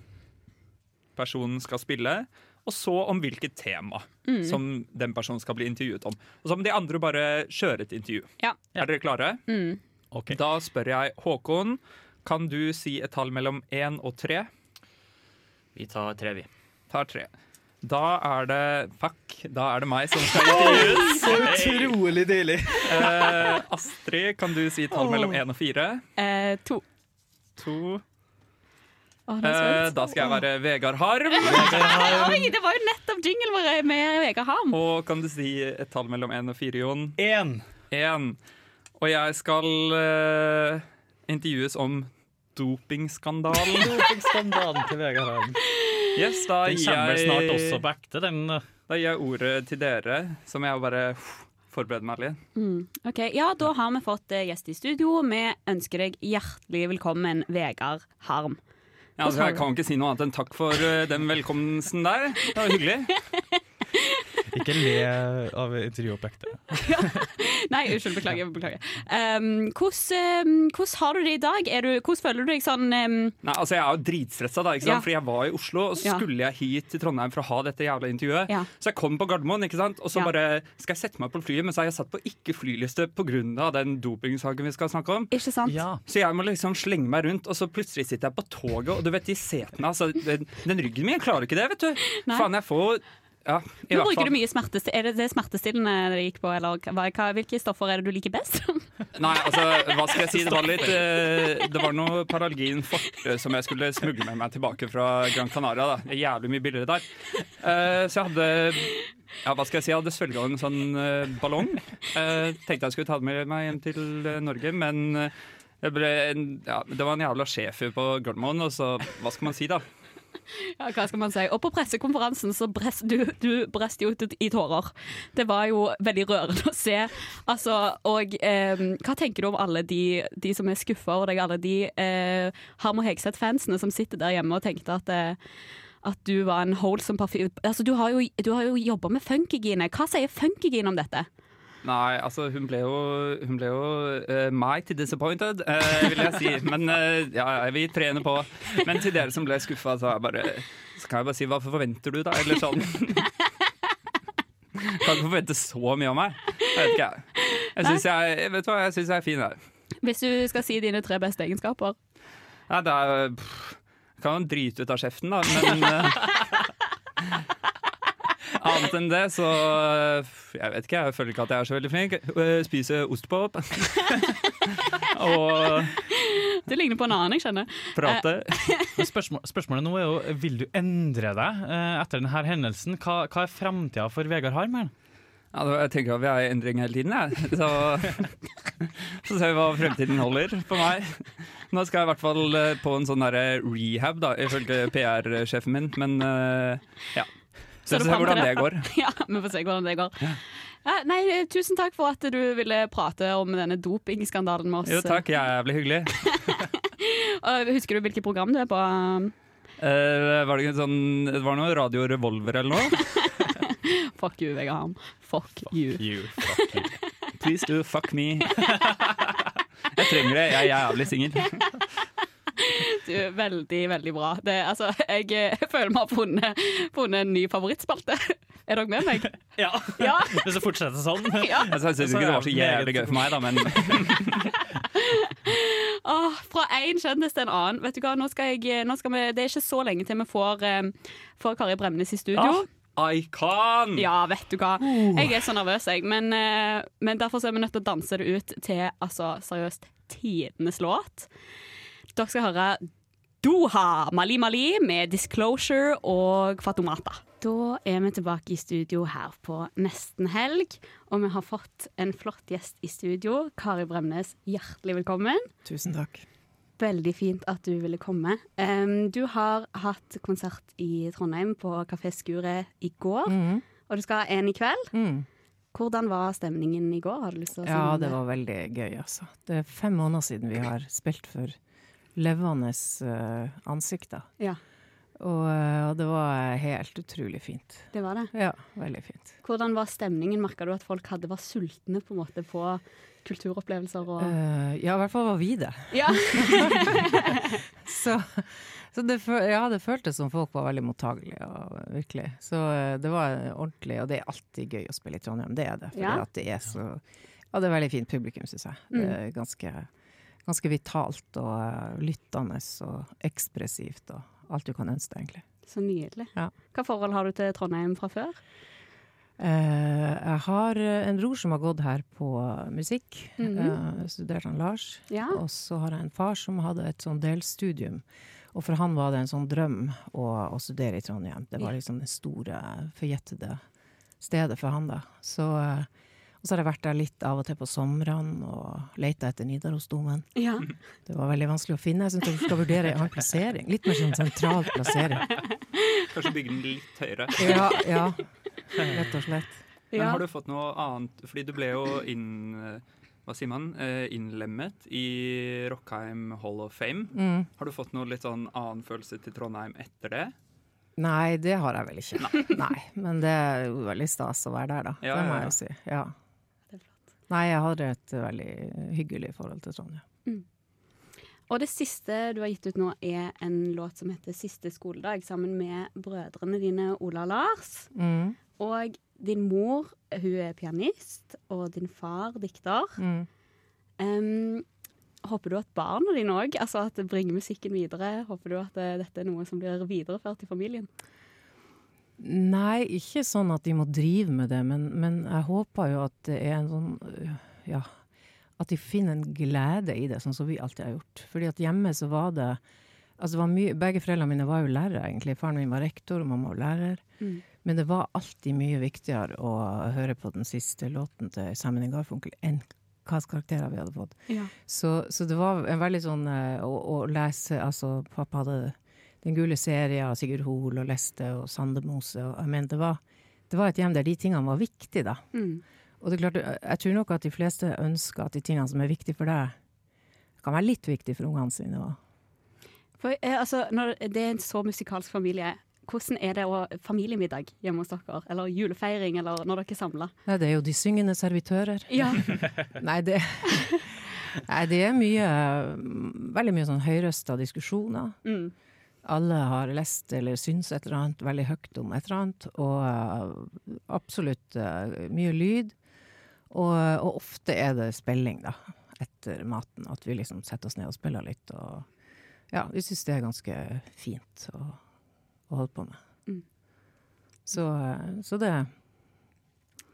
Speaker 3: personen skal spille. Og så om hvilket tema
Speaker 2: Mm.
Speaker 3: som den personen skal bli intervjuet om. Og så må de andre bare kjøre et intervju.
Speaker 2: Ja.
Speaker 3: Er dere klare?
Speaker 2: Mm.
Speaker 3: Da spør jeg Håkon, kan du si et tall mellom én og tre?
Speaker 10: Vi tar tre, vi.
Speaker 3: Tar tre. Da er det Fuck, da er det meg som skal intervjues.
Speaker 5: Så utrolig deilig.
Speaker 3: Eh, Astrid, kan du si tall mellom én og fire?
Speaker 2: Eh, to.
Speaker 3: To.
Speaker 2: Å, det er så
Speaker 3: Eh,
Speaker 2: vondt.
Speaker 3: da skal jeg være Vegard Harm.
Speaker 2: Oi, det var jo nettopp jingle vår med Vegard Harm.
Speaker 3: Og kan du si et tall mellom én og fire, Jon?
Speaker 5: Én.
Speaker 3: Og jeg skal eh, intervjues om dopingskandalen.
Speaker 5: Skandalen til Vegard Harm.
Speaker 3: Yes, da
Speaker 5: Den
Speaker 3: gir
Speaker 5: kommer
Speaker 3: jeg
Speaker 5: snart også på ekte, den. da.
Speaker 3: Da gir jeg ordet til dere, så må jeg bare pff, forberede meg litt.
Speaker 2: Mm. Ok, Ja, da har vi fått eh, gjest i studio. Vi ønsker deg hjertelig velkommen, Vegard Harm.
Speaker 3: Ja, altså, jeg kan ikke si noe annet enn takk for eh, den velkomsten der. Det var hyggelig.
Speaker 5: Ikke le av intervjuobjektet.
Speaker 2: Nei, unnskyld. Beklager. beklager. Um, hvordan, um, hvordan har du det i dag? Er du, hvordan føler du deg sånn um,
Speaker 3: Nei, altså Jeg er jo dritstressa, da, ikke sant?
Speaker 2: Ja.
Speaker 3: fordi jeg var i Oslo. Og så
Speaker 2: Ja.
Speaker 3: skulle jeg hit til Trondheim for å ha dette jævla intervjuet.
Speaker 2: Ja.
Speaker 3: Så jeg kom på Gardermoen, ikke sant? og så
Speaker 2: Ja.
Speaker 3: bare skal jeg sette meg på flyet. Men så har jeg satt på ikke-flyliste pga. den dopingsaken vi skal snakke om.
Speaker 2: Ikke sant?
Speaker 3: Så jeg må liksom slenge meg rundt, og så plutselig sitter jeg på toget, og du vet de setene altså, den, den ryggen min klarer ikke det, vet du.
Speaker 2: Nei.
Speaker 3: Faen, jeg får ja, i
Speaker 2: Nå
Speaker 3: hvert
Speaker 2: bruker
Speaker 3: fall.
Speaker 2: du mye smertestillende. Er det det smertestillende det gikk på, eller hva, hva, hvilke stoffer er det du liker best?
Speaker 3: Nei, altså, hva skal jeg si? Det var litt eh, Det var noe Paralgin Forte som jeg skulle smugle med meg tilbake fra Gran Canaria. da Det er Jævlig mye billigere der. Eh, så jeg hadde Ja, hva skal jeg si? Jeg hadde svelga en sånn eh, ballong. Eh, tenkte jeg skulle ta den med meg hjem til eh, Norge, men eh, jeg ble en, ja, det var en jævla sjef på Gardermoen, og så Hva skal man si, da?
Speaker 2: Ja, hva skal man si? Og på pressekonferansen så brest du, du brest jo ut i tårer. Det var jo veldig rørende å se. Altså, og eh, hva tenker du om alle de, de som er skuffa over deg, alle de eh, Harm og Hegseth-fansene som sitter der hjemme og tenkte at eh, at du var en wholesome parfyme altså, Du har jo, du har jo jobba med funkygine. Hva sier funkygine om dette?
Speaker 3: Nei, altså hun ble jo, hun ble jo eh, meg til disappointed, eh, vil jeg si. Men eh, ja, ja, vi trener på. Men til dere som ble skuffa, så, er jeg bare- så kan jeg bare si hva forventer du, da? Eller sånn. Kan ikke forvente så mye av meg. Jeg vet ikke, jeg. jeg, synes jeg, jeg vet du hva, jeg syns jeg er fin her.
Speaker 2: Hvis du skal si dine tre beste egenskaper.
Speaker 3: Nei, det er pff, jeg Kan jo drite ut av kjeften, da, men eh, Annet enn det, så eh, Jeg vet ikke, jeg føler ikke at jeg er så veldig flink. Eh, Spiser ostepop. Og
Speaker 2: Du ligner på en annen jeg kjenner. Eh,
Speaker 5: Men spørsmål, spørsmålet nå er jo vil du endre deg eh, etter denne hendelsen. Hva, hva er framtida for Vegard Harm? her?
Speaker 3: Ja, da- jeg tenker at vi er i endring hele tiden, jeg. Så, så ser vi hva fremtiden holder for meg. Nå skal jeg i hvert fall eh, på en sånn derre rehab, da, ifølge PR-sjefen min, men eh, ja. Så vi får se
Speaker 2: pantrer-
Speaker 3: hvordan det går.
Speaker 2: Ja, vi får se hvordan det går.
Speaker 3: Ja.
Speaker 2: Ja, nei, tusen takk for at du ville prate om denne dopingskandalen med oss.
Speaker 3: Jo takk, jævlig hyggelig.
Speaker 2: Og eh, Husker du hvilket program du er på? Um,
Speaker 3: Eh, var det, ikke sånn, det var noe Radio Revolver eller noe?
Speaker 2: Fuck you, Vegard Harm. Fuck, you.
Speaker 3: fuck you. Please do fuck me. Jeg trenger det, jeg er jævlig singel.
Speaker 2: Du er veldig, veldig bra. Det, altså, jeg, eh, føler vi har funnet, funnet en ny favorittspalte. Er dere med meg?
Speaker 5: Ja.
Speaker 2: Ja.
Speaker 5: Hvis det fortsetter sånn.
Speaker 2: Ja.
Speaker 3: Altså, jeg syns ikke det var så jævlig gøy for meg, da, men
Speaker 2: Åh, fra én kjendis til en annen. Vet du hva, nå skal jeg, eh, nå skal vi, Det er ikke så lenge til vi får, eh, får Kari Bremnes i studio.
Speaker 3: Icon!
Speaker 2: Ja, vet du hva. Jeg er så nervøs, jeg. Men, eh, men derfor så er vi nødt til å danse det ut til altså, seriøst tidenes låt. Dere skal høre Doha Mali Mali med Disclosure og Fatomata. Da er vi tilbake i studio her på nesten helg, og vi har fått en flott gjest i studio. Kari Bremnes, hjertelig velkommen.
Speaker 7: Tusen takk.
Speaker 2: Veldig fint at du ville komme. Em, du har hatt konsert i Trondheim på Kafé Skuret i går,
Speaker 7: Mm.
Speaker 2: og du skal ha en i kveld. Hvordan var stemningen i går? Har du lyst til å si noe
Speaker 7: Ja,
Speaker 2: om
Speaker 7: det var veldig gøy, altså. Det er fem måneder siden vi har spilt for levende eh, ansikter.
Speaker 2: Ja.
Speaker 7: Og, eh, og det var helt utrolig fint.
Speaker 2: Det var det.
Speaker 7: Ja, veldig fint.
Speaker 2: Hvordan var stemningen? Merka du at folk hadde var sultne på, en måte, på kulturopplevelser? Og...
Speaker 7: Eh, ja, i hvert fall var vi det.
Speaker 2: Ja.
Speaker 7: så så det, fø- ja, det føltes som folk var veldig mottagelige, og, virkelig. Så eh, det var ordentlig, og det er alltid gøy å spille i Trondheim, det er det. For
Speaker 2: Ja. Mm.
Speaker 7: at det er så Ja, det er veldig fint publikum, syns jeg. Det er ganske, ganske vitalt og eh, lyttende og ekspressivt og alt du kan ønske deg, egentlig.
Speaker 2: Så nydelig.
Speaker 7: Ja.
Speaker 2: Hva forhold har du til Trondheim fra før?
Speaker 7: Eh, jeg har eh, en bror som har gått her på musikk.
Speaker 2: Mhm.
Speaker 7: eh, studert han Lars. Og så har jeg en far som hadde et sånn delstudium. Og for han var det en sånn drøm å, å studere i Trondheim. Det var
Speaker 14: Ja.
Speaker 7: liksom det store, forjettede stedet for han, da. Så, eh, og så har jeg vært der litt av og til på somrene og leita etter Nidarosdomen.
Speaker 2: Ja.
Speaker 7: Det var veldig vanskelig å finne. Jeg syns dere skal vurdere en annen plassering. Litt mer sånn sentral plassering.
Speaker 3: kanskje bygge den litt høyere.
Speaker 7: Ja, ja. Rett og slett.
Speaker 3: Men
Speaker 7: Ja.
Speaker 3: har du fått noe annet Fordi du ble jo inn, eh, hva sier man, Eh, innlemmet i Rockheim Hall of Fame.
Speaker 7: Mm.
Speaker 3: Har du fått noe litt sånn annen følelse til Trondheim etter det?
Speaker 7: Nei, det har jeg vel ikke. Nei, men det er jo veldig stas å være der, da.
Speaker 3: Ja,
Speaker 7: det må
Speaker 3: ja, ja.
Speaker 7: jeg jo si. Ja. Nei, jeg har et veldig hyggelig forhold til Trondheim.
Speaker 2: Og det siste du har gitt ut nå, er en låt som heter 'Siste skoledag', sammen med brødrene dine Ola og Lars.
Speaker 7: Mm.
Speaker 2: Og din mor, hun er pianist, og din far dikter.
Speaker 7: Mm.
Speaker 2: Em, håper du at barna dine òg altså at det bringer musikken videre? Håper du at eh, dette er noe som blir videreført i familien?
Speaker 7: Nei, ikke sånn at de må drive med det, men, men jeg håper jo at det er en sånn øh, Ja. At de finner en glede i det, sånn som vi alltid har gjort. Fordi at hjemme så var det Altså det var mye, begge foreldrene mine var jo lærere, egentlig. Faren min var rektor, og mamma var lærer.
Speaker 2: Mm.
Speaker 7: Men det var alltid mye viktigere å høre på den siste låten til Sammen i Garfunkel enn hva slags karakterer vi hadde fått.
Speaker 2: Ja.
Speaker 7: Så, så det var en veldig sånn eh, å, å lese Altså, pappa hadde Den gule serie av Sigurd Hoel og Leste og Sandemose og jeg mener, det var, det var et hjem der de tingene var viktige, da.
Speaker 2: Mm.
Speaker 7: Og det er klart, eh, jeg tror nok at de fleste ønsker at de tingene som er viktige for deg, kan være litt viktige for ungene sine òg.
Speaker 2: For, eh, altså, når det er en så musikalsk familie, hvordan er det å familiemiddag hjemme hos dere? Eller julefeiring, eller når dere er samla?
Speaker 7: Nei, det er jo de syngende servitører.
Speaker 2: Ja.
Speaker 7: Nei, det Nei, det er mye Veldig mye sånn høyrøsta diskusjoner.
Speaker 2: Mm.
Speaker 7: Alle har lest eller syns et eller annet veldig høyt om et eller annet, og eh, absolutt eh, mye lyd. Og, og ofte er det spilling, da, etter maten. At vi liksom setter oss ned og spiller litt. Og ja, vi syns det er ganske fint å, å holde på med.
Speaker 2: Mm.
Speaker 7: Så, eh, så det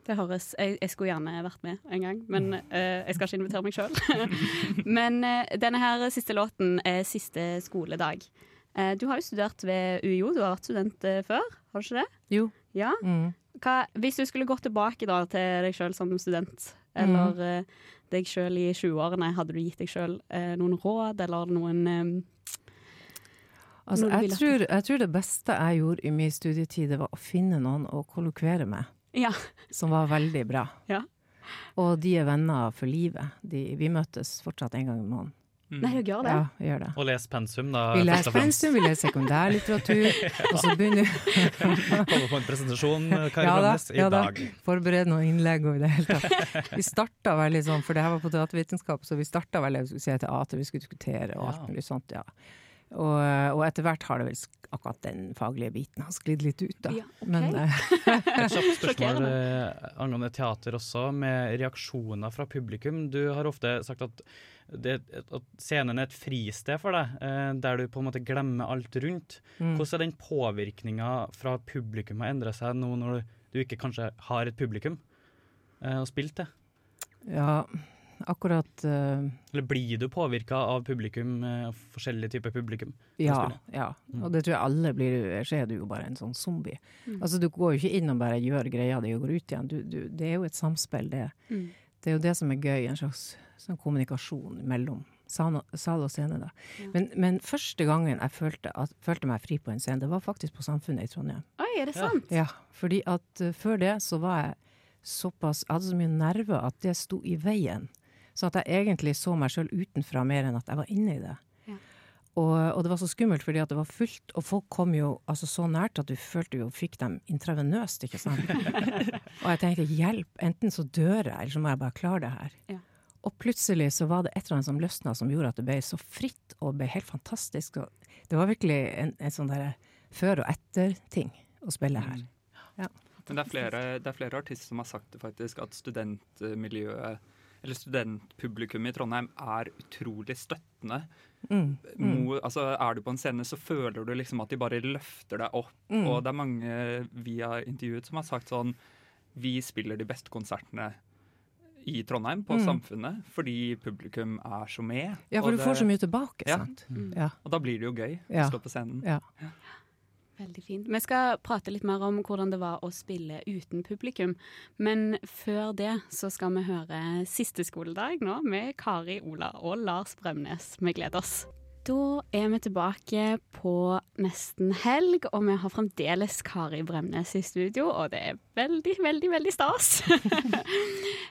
Speaker 2: Det høres jeg, jeg skulle gjerne vært med en gang, men eh, jeg skal ikke invitere meg sjøl. men eh, denne her siste låten er siste skoledag. Eh, du har jo studert ved UiO, du har vært student eh, før, har du ikke det?
Speaker 7: Jo.
Speaker 2: Ja. Hva, hvis du skulle gått tilbake da, til deg sjøl som student, eller eh, deg sjøl i 20-årene, hadde du gitt deg sjøl eh, noen råd eller noen eh,
Speaker 15: Altså,
Speaker 2: noe du
Speaker 15: jeg,
Speaker 2: ville at-
Speaker 15: tror, jeg tror det beste jeg gjorde i min studietid, det var å finne noen å kollokvere med,
Speaker 2: eh, Ja.
Speaker 15: som var veldig bra.
Speaker 2: Ja.
Speaker 15: Og de er venner for livet. De, vi møtes fortsatt en gang i måneden.
Speaker 2: Nei, dere gjør det?
Speaker 15: Ja, vi gjør det.
Speaker 5: Og les pensum, da.
Speaker 15: Vi
Speaker 5: først
Speaker 15: leser
Speaker 5: og fremst.
Speaker 15: pensum, vi leser sekundærlitteratur, og så begynner
Speaker 5: Kommer på en presentasjon, eh, Kari
Speaker 15: Ja da,
Speaker 5: Brandnes, i
Speaker 15: ja da.
Speaker 5: dag.
Speaker 15: Forbered noen innlegg og i det hele tatt. Vi starta veldig sånn, for det her var på teatervitenskap, så vi starta veldig vi skulle se teater, vi skulle diskutere og alt mulig sånt, ja. Og, og etter hvert har det vel sk- akkurat den faglige biten har sklidd litt ut, da. Men eh,
Speaker 5: Et kjapt spørsmål eh, angående teater også, med reaksjoner fra publikum. Du har ofte sagt at, det, at scenen er et fristed for deg, eh, der du på en måte glemmer alt rundt.
Speaker 15: Mm.
Speaker 5: Hvordan er den påvirkninga fra publikum har endra seg nå når du, du ikke kanskje har et publikum eh, og spilt det?
Speaker 15: ja, akkurat eh,
Speaker 5: Eller blir du påvirka av publikum, eh, forskjellige typer publikum?
Speaker 15: Ja, ja. og det tror jeg alle blir. Så er du jo bare en sånn zombie. Altså Du går jo ikke inn og bare gjør greia di og går ut igjen. Du, du, det er jo et samspill, det.
Speaker 2: Mm.
Speaker 15: Det er jo det som er gøy, en slags sånn kommunikasjon mellom sal sal og scene. da. Men, men første gangen jeg følte, at, følte meg fri på en scene, det var faktisk på Samfunnet i Trondheim.
Speaker 2: Oi, er det sant?
Speaker 15: Ja, fordi at eh, før det så var jeg såpass Jeg hadde så mye nerver at det sto i veien. Så at jeg egentlig så meg sjøl utenfra mer enn at jeg var inne i det.
Speaker 2: Ja.
Speaker 15: Og, og det var så skummelt fordi at det var fullt, og folk kom jo altså, så nært at du følte jo fikk dem intravenøst, ikke sant. og jeg tenkte hjelp, enten så dør jeg, eller så må jeg bare klare det her.
Speaker 2: Ja.
Speaker 15: Og plutselig så var det et eller annet som løsna som gjorde at det ble så fritt og ble helt fantastisk. Og det var virkelig en, en sånn derre før- og etter-ting å spille her.
Speaker 3: Men det er, flere, det er flere artister som har sagt det faktisk, at studentmiljøet, eller studentpublikummet i Trondheim er utrolig støttende.
Speaker 15: Mm, mm.
Speaker 3: Mo, altså, er du på en scene, så føler du liksom at de bare løfter deg opp.
Speaker 15: Mm.
Speaker 3: Og det er mange vi har intervjuet som har sagt sånn Vi spiller de beste konsertene i Trondheim, på
Speaker 15: Mm.
Speaker 3: Samfunnet, fordi publikum er så med.
Speaker 15: Ja, for
Speaker 3: og
Speaker 15: du
Speaker 3: det-
Speaker 15: får så mye tilbake,
Speaker 3: Ja.
Speaker 15: sant? Ja.
Speaker 3: Og da blir det jo gøy
Speaker 15: Ja.
Speaker 3: å stå på scenen.
Speaker 15: Ja.
Speaker 2: Veldig fint. Vi skal prate litt mer om hvordan det var å spille uten publikum. Men før det så skal vi høre Siste skoledag nå med Kari Ola og Lars Bremnes. Vi gleder oss. Da er vi tilbake på nesten helg, og vi har fremdeles Kari Bremnes i studio, og det er veldig, veldig, veldig stas.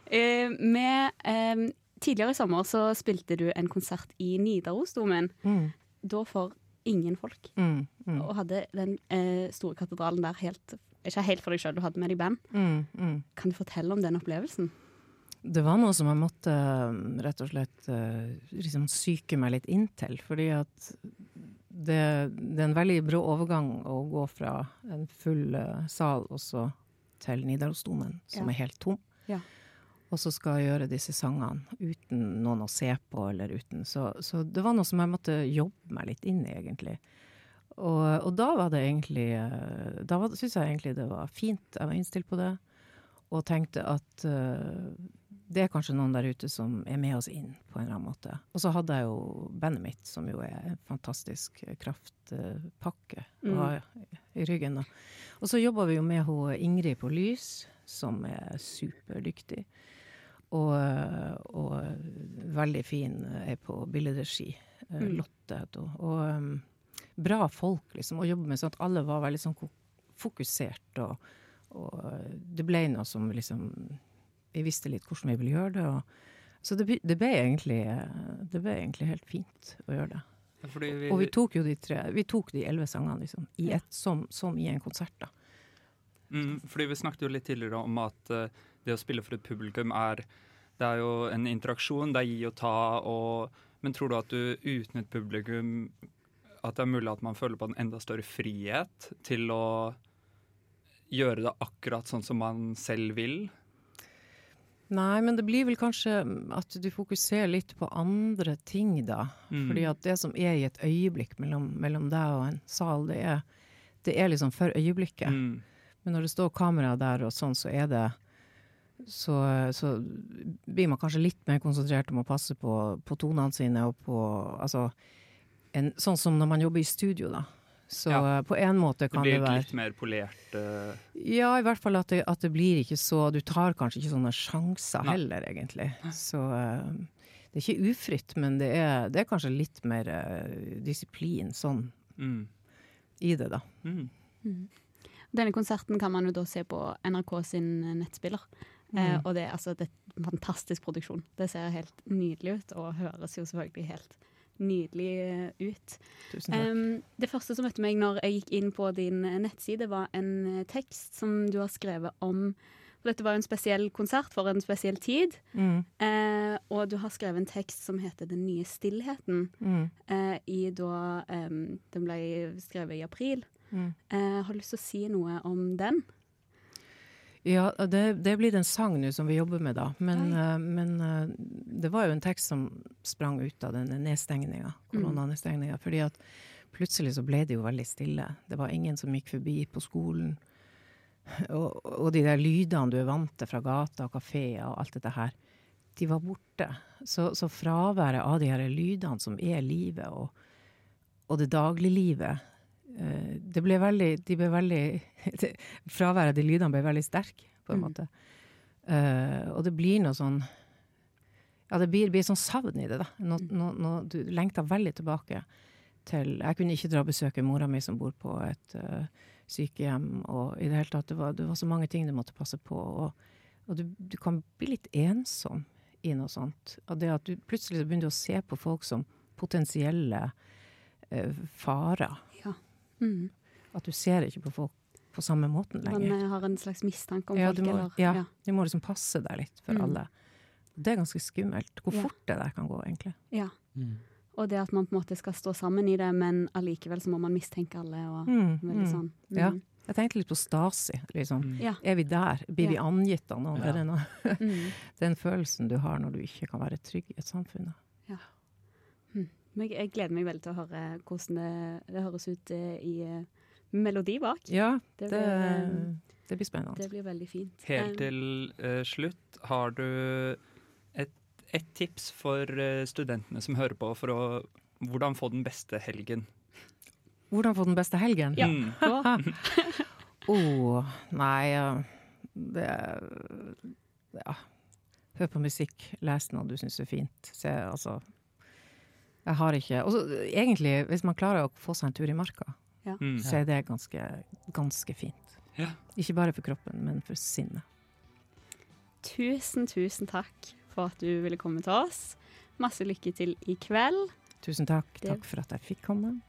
Speaker 2: Eh, med, eh, tidligere i sommer så spilte du en konsert i Nidarosdomen,
Speaker 15: Mm.
Speaker 2: da for ingen folk.
Speaker 15: Mm, mm.
Speaker 2: Og hadde den eh, store katedralen der helt Ikke helt for deg sjøl, du hadde med deg band.
Speaker 15: Mm, mm.
Speaker 2: Kan du fortelle om den opplevelsen?
Speaker 15: Det var noe som jeg måtte um, rett og slett uh, liksom psyke meg litt inn til. Fordi at det, det er en veldig brå overgang å gå fra en full uh, sal og så til Nidarosdomen, som
Speaker 2: Ja.
Speaker 15: er helt tom.
Speaker 2: Ja.
Speaker 15: Og så skal jeg gjøre disse sangene sånn, uten noen å se på eller uten. Så, så det var noe som jeg måtte jobbe meg litt inn i, egentlig. Og, og da var det egentlig eh, Da var det- syntes jeg egentlig det var fint, jeg var innstilt på det. Og tenkte at eh, det er kanskje noen der ute som er med oss inn på en eller annen måte. Og så hadde jeg jo bandet mitt, som jo er en fantastisk kraftpakke
Speaker 16: Mm.
Speaker 15: å ha i ryggen. Da. Og så jobba vi jo med hun Ingrid på Lys, som er superdyktig. Og, og veldig fin eh, er på billedregi. Eh,
Speaker 16: Mm.
Speaker 15: Lotte heter hun. Og um, bra folk, liksom, å jobbe med. Sånn at alle var veldig sånn ko- fokusert. Og, og det ble noe som liksom Vi visste litt hvordan vi ville gjøre det. Og, så det, ble- det, ble egentlig, eh, det ble egentlig helt fint å gjøre det.
Speaker 3: Fordi vi,
Speaker 15: Og vi tok jo de tre Vi tok de elleve sangene liksom, i ett, som, som i en konsert. da
Speaker 3: Mm, fordi vi snakket jo litt tidligere om at eh, det å spille for et publikum er Det er jo en interaksjon, det er gi og ta, og Men tror du at du uten et publikum At det er mulig at man føler på en enda større frihet til å gjøre det akkurat sånn som man selv vil?
Speaker 15: Nei, men det blir vel kanskje at du fokuserer litt på andre ting, da.
Speaker 16: Mm.
Speaker 15: Fordi at det som er i et øyeblikk mellom, mellom deg og en sal, det er, det er liksom for øyeblikket.
Speaker 3: Mm.
Speaker 15: Men når det står kamera der og sånn, så er det så, så blir man kanskje litt mer konsentrert om å passe på, på tonene sine og på Altså en, sånn som når man jobber i studio, da.
Speaker 7: Så eh, på en måte kan det,
Speaker 3: blir
Speaker 7: være
Speaker 3: litt mer polert. eh,
Speaker 7: Ja, i hvert fall at det, at det blir ikke så Du tar kanskje ikke sånne sjanser
Speaker 3: Nei.
Speaker 7: heller, egentlig. Så eh, det er ikke ufritt, men det er, det er kanskje litt mer eh, disiplin sånn
Speaker 3: Mm.
Speaker 7: i det, da.
Speaker 2: Denne konserten kan man jo da se på NRK sin nettspiller. Eh,
Speaker 7: Mm.
Speaker 2: og det, er altså, det er en fantastisk produksjon. Det ser helt nydelig ut, og høres jo selvfølgelig helt nydelig eh, ut.
Speaker 7: Tusen
Speaker 3: Eh.
Speaker 7: takk.
Speaker 2: Em, det første som møtte meg når jeg gikk inn på din eh, nettside, var en eh, tekst som du har skrevet om For dette var jo en spesiell konsert for en spesiell tid.
Speaker 7: Mm.
Speaker 2: Eh, og du har skrevet en tekst som heter 'Den nye stillheten'.
Speaker 7: Mm.
Speaker 2: Eh, i da, em, den ble skrevet i april.
Speaker 7: Mm.
Speaker 2: Eh, har du lyst til å si noe om den?
Speaker 7: Ja, det, det blir en sang nå som vi jobber med, da. Men, eh, men eh, det var jo en tekst som sprang ut av denne nedstengninga,
Speaker 2: Mm.
Speaker 7: koronanedstengninga. Fordi at plutselig så ble det jo veldig stille. Det var ingen som gikk forbi på skolen. Og, og de der lydene du er vant til fra gata og kafeer og alt dette her, de var borte. Så, så fraværet av de her lydene som er livet, og, og det dagliglivet eh, det ble veldig, de ble veldig Fraværet av de lydene ble veldig sterk, på en
Speaker 2: Mm.
Speaker 7: måte. Eh, og det blir noe sånn Ja, det blir, blir sånn savn i det, da. Nå, nå, nå, du lengter veldig tilbake til Jeg kunne ikke dra og besøke mora mi som bor på et eh, sykehjem, og i det hele tatt Det var, det var så mange ting du måtte passe på. Og, og du, du kan bli litt ensom i noe sånt. Og det at du plutselig så begynner du å se på folk som potensielle eh, farer.
Speaker 2: Ja. Mm.
Speaker 7: At du ser ikke på folk på samme måten
Speaker 2: Man
Speaker 7: lenger.
Speaker 2: eh, har en slags mistanke om
Speaker 7: ja,
Speaker 2: folk,
Speaker 7: du må,
Speaker 2: eller?
Speaker 7: ja, du må liksom passe deg litt for
Speaker 2: Mm.
Speaker 7: alle. Det er ganske skummelt hvor
Speaker 2: Ja.
Speaker 7: fort det der kan gå, egentlig.
Speaker 2: Ja. Og det at man på en måte skal stå sammen i det, men allikevel så må man mistenke alle. Og
Speaker 7: Mm,
Speaker 2: veldig
Speaker 7: mm.
Speaker 2: sånn. Mm.
Speaker 7: Ja. Jeg tenkte litt på Stasi. Liksom.
Speaker 2: Ja.
Speaker 7: Er vi der? Blir vi
Speaker 2: Ja.
Speaker 7: angitt av noen?
Speaker 2: Ja.
Speaker 7: Er det noe?
Speaker 2: Mm.
Speaker 7: Den følelsen du har når du ikke kan være trygg i et samfunn. da.
Speaker 2: Mm. Men jeg, jeg gleder meg veldig til å høre hvordan det, det høres ut eh, i eh, melodi bak.
Speaker 7: Ja,
Speaker 2: det,
Speaker 7: det,
Speaker 2: blir, eh,
Speaker 7: det blir spennende.
Speaker 2: det blir veldig fint.
Speaker 3: Helt
Speaker 2: Eh,
Speaker 3: til eh, slutt, har du et, et tips for eh, studentene som hører på, for å, hvordan få den beste helgen? Mm.
Speaker 7: Hvordan få den beste helgen?
Speaker 3: Ja.
Speaker 7: oh, nei ja, det, ja. Hør på musikk, les noe du syns er fint. Se, altså Jeg har ikke Og så, egentlig, hvis man klarer å få seg en tur i marka,
Speaker 2: Ja.
Speaker 3: Mm.
Speaker 7: så er det ganske, ganske fint.
Speaker 3: Ja.
Speaker 7: Ikke bare for kroppen, men for sinnet.
Speaker 2: Tusen, tusen takk for at du ville komme til oss. Masse lykke til i kveld.
Speaker 7: Tusen takk.
Speaker 2: Det-
Speaker 7: Takk for at jeg fikk komme.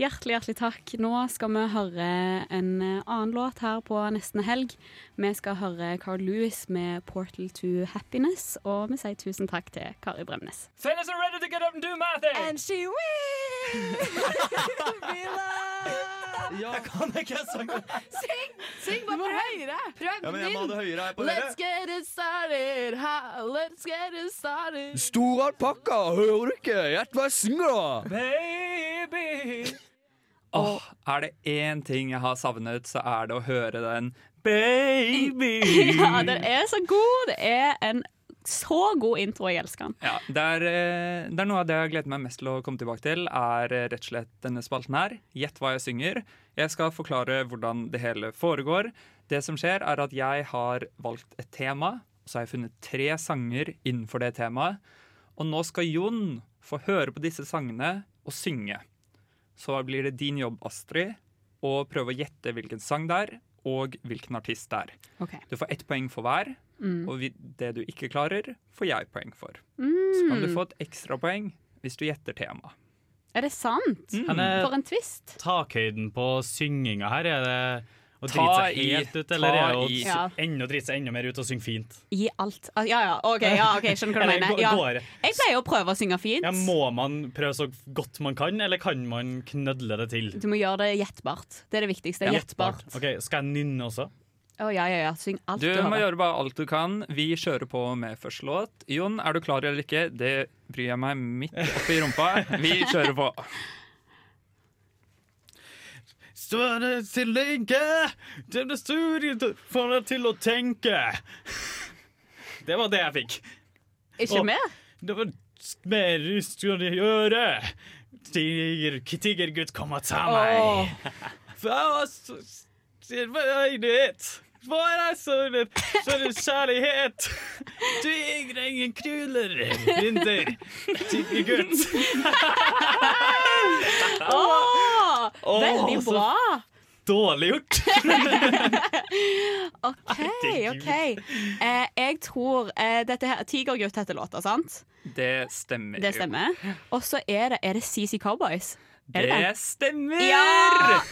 Speaker 2: Hjertelig, hjertelig takk. Nå skal vi høre en eh, annen låt her på nesten helg. Vi skal høre Carl Lewis med 'Portal to Happiness', og vi sier tusen takk til Kari Bremnes.
Speaker 15: Fellas are ready to get up and do my thing! And she will be loved!
Speaker 17: Jeg kan ikke sange.
Speaker 15: Syng! Syng bare prøv! høyere! Prøv
Speaker 17: Ja, men jeg må ha det høyere her på
Speaker 15: Let's
Speaker 17: høyre.
Speaker 15: get it started, ha, let's get it started
Speaker 17: Store alpakka, hører du ikke? Gjett hva jeg synger, da!
Speaker 15: Baby
Speaker 3: Åh, er det én ting jeg har savnet, så er det å høre den Baby!
Speaker 2: Ja, den er så god! Det er en så god intro. Jeg elsker den.
Speaker 3: Ja, det er, eh, det er noe av det jeg har gledet meg mest til å komme tilbake til, er eh, rett og slett denne spalten her. Gjett hva jeg synger. Jeg skal forklare hvordan det hele foregår. Det som skjer, er at jeg har valgt et tema, så har jeg funnet tre sanger innenfor det temaet. Og nå skal Jon få høre på disse sangene og synge. Så blir det din jobb, Astrid, å prøve å gjette hvilken sang det er, og hvilken artist det er.
Speaker 2: Ok.
Speaker 3: Du får ett poeng for hver,
Speaker 2: Mm.
Speaker 3: og vi, det du ikke klarer, får jeg poeng for.
Speaker 2: Mm.
Speaker 3: Så kan du få et ekstrapoeng hvis du gjetter temaet.
Speaker 2: Er det sant?
Speaker 3: Mm.
Speaker 2: For en twist!
Speaker 5: Takhøyden på synginga her, er det
Speaker 3: Ta
Speaker 5: å drite seg
Speaker 3: i,
Speaker 5: helt ut,
Speaker 3: ta
Speaker 5: eller er det å
Speaker 3: i.
Speaker 5: s-
Speaker 2: Ja.
Speaker 5: enda drite seg enda mer ut og synge fint?
Speaker 2: Gi alt. Ah, Ja, ja, OK, ja, ok, skjønner hva du
Speaker 5: Eller
Speaker 2: mener.
Speaker 5: gå-
Speaker 2: Ja.
Speaker 5: går det?
Speaker 2: Jeg pleier å prøve å synge fint.
Speaker 5: Ja, må man prøve så godt man kan, eller kan man knødle det til?
Speaker 2: Du må gjøre det gjettbart. Det er det viktigste. Gjettbart.
Speaker 5: Ok, Skal jeg nynne også?
Speaker 2: Å ja, ja, ja. Syng alt
Speaker 3: Du
Speaker 2: du,
Speaker 3: må
Speaker 2: hører.
Speaker 3: gjøre bare alt du kan. Vi kjører på med første låt. Jon, er du klar eller ikke? Det bryr jeg meg midt oppi rumpa. Vi kjører på.
Speaker 5: Stående til lenge, det ble studiet for deg til å tenke. Det var det jeg fikk.
Speaker 2: Ikke
Speaker 5: Og
Speaker 2: mer?
Speaker 5: Det var mer du skulle gjøre. Tiger, tigergutt, kom og ta meg! Hva var så Silverøynet? Hva er det som er kjærlighet? Du trenger ingen kruler, Rinder. Tigergutt.
Speaker 2: Åh, veldig
Speaker 5: så
Speaker 2: bra!
Speaker 5: Dårlig gjort.
Speaker 2: OK. ok eh, Jeg tror eh, dette her, Tigergutt heter låta, sant?
Speaker 3: Det stemmer.
Speaker 2: Det stemmer. Og så er det, er det CC Cowboys. Er det
Speaker 3: Det
Speaker 2: det?
Speaker 3: stemmer!
Speaker 2: Ja!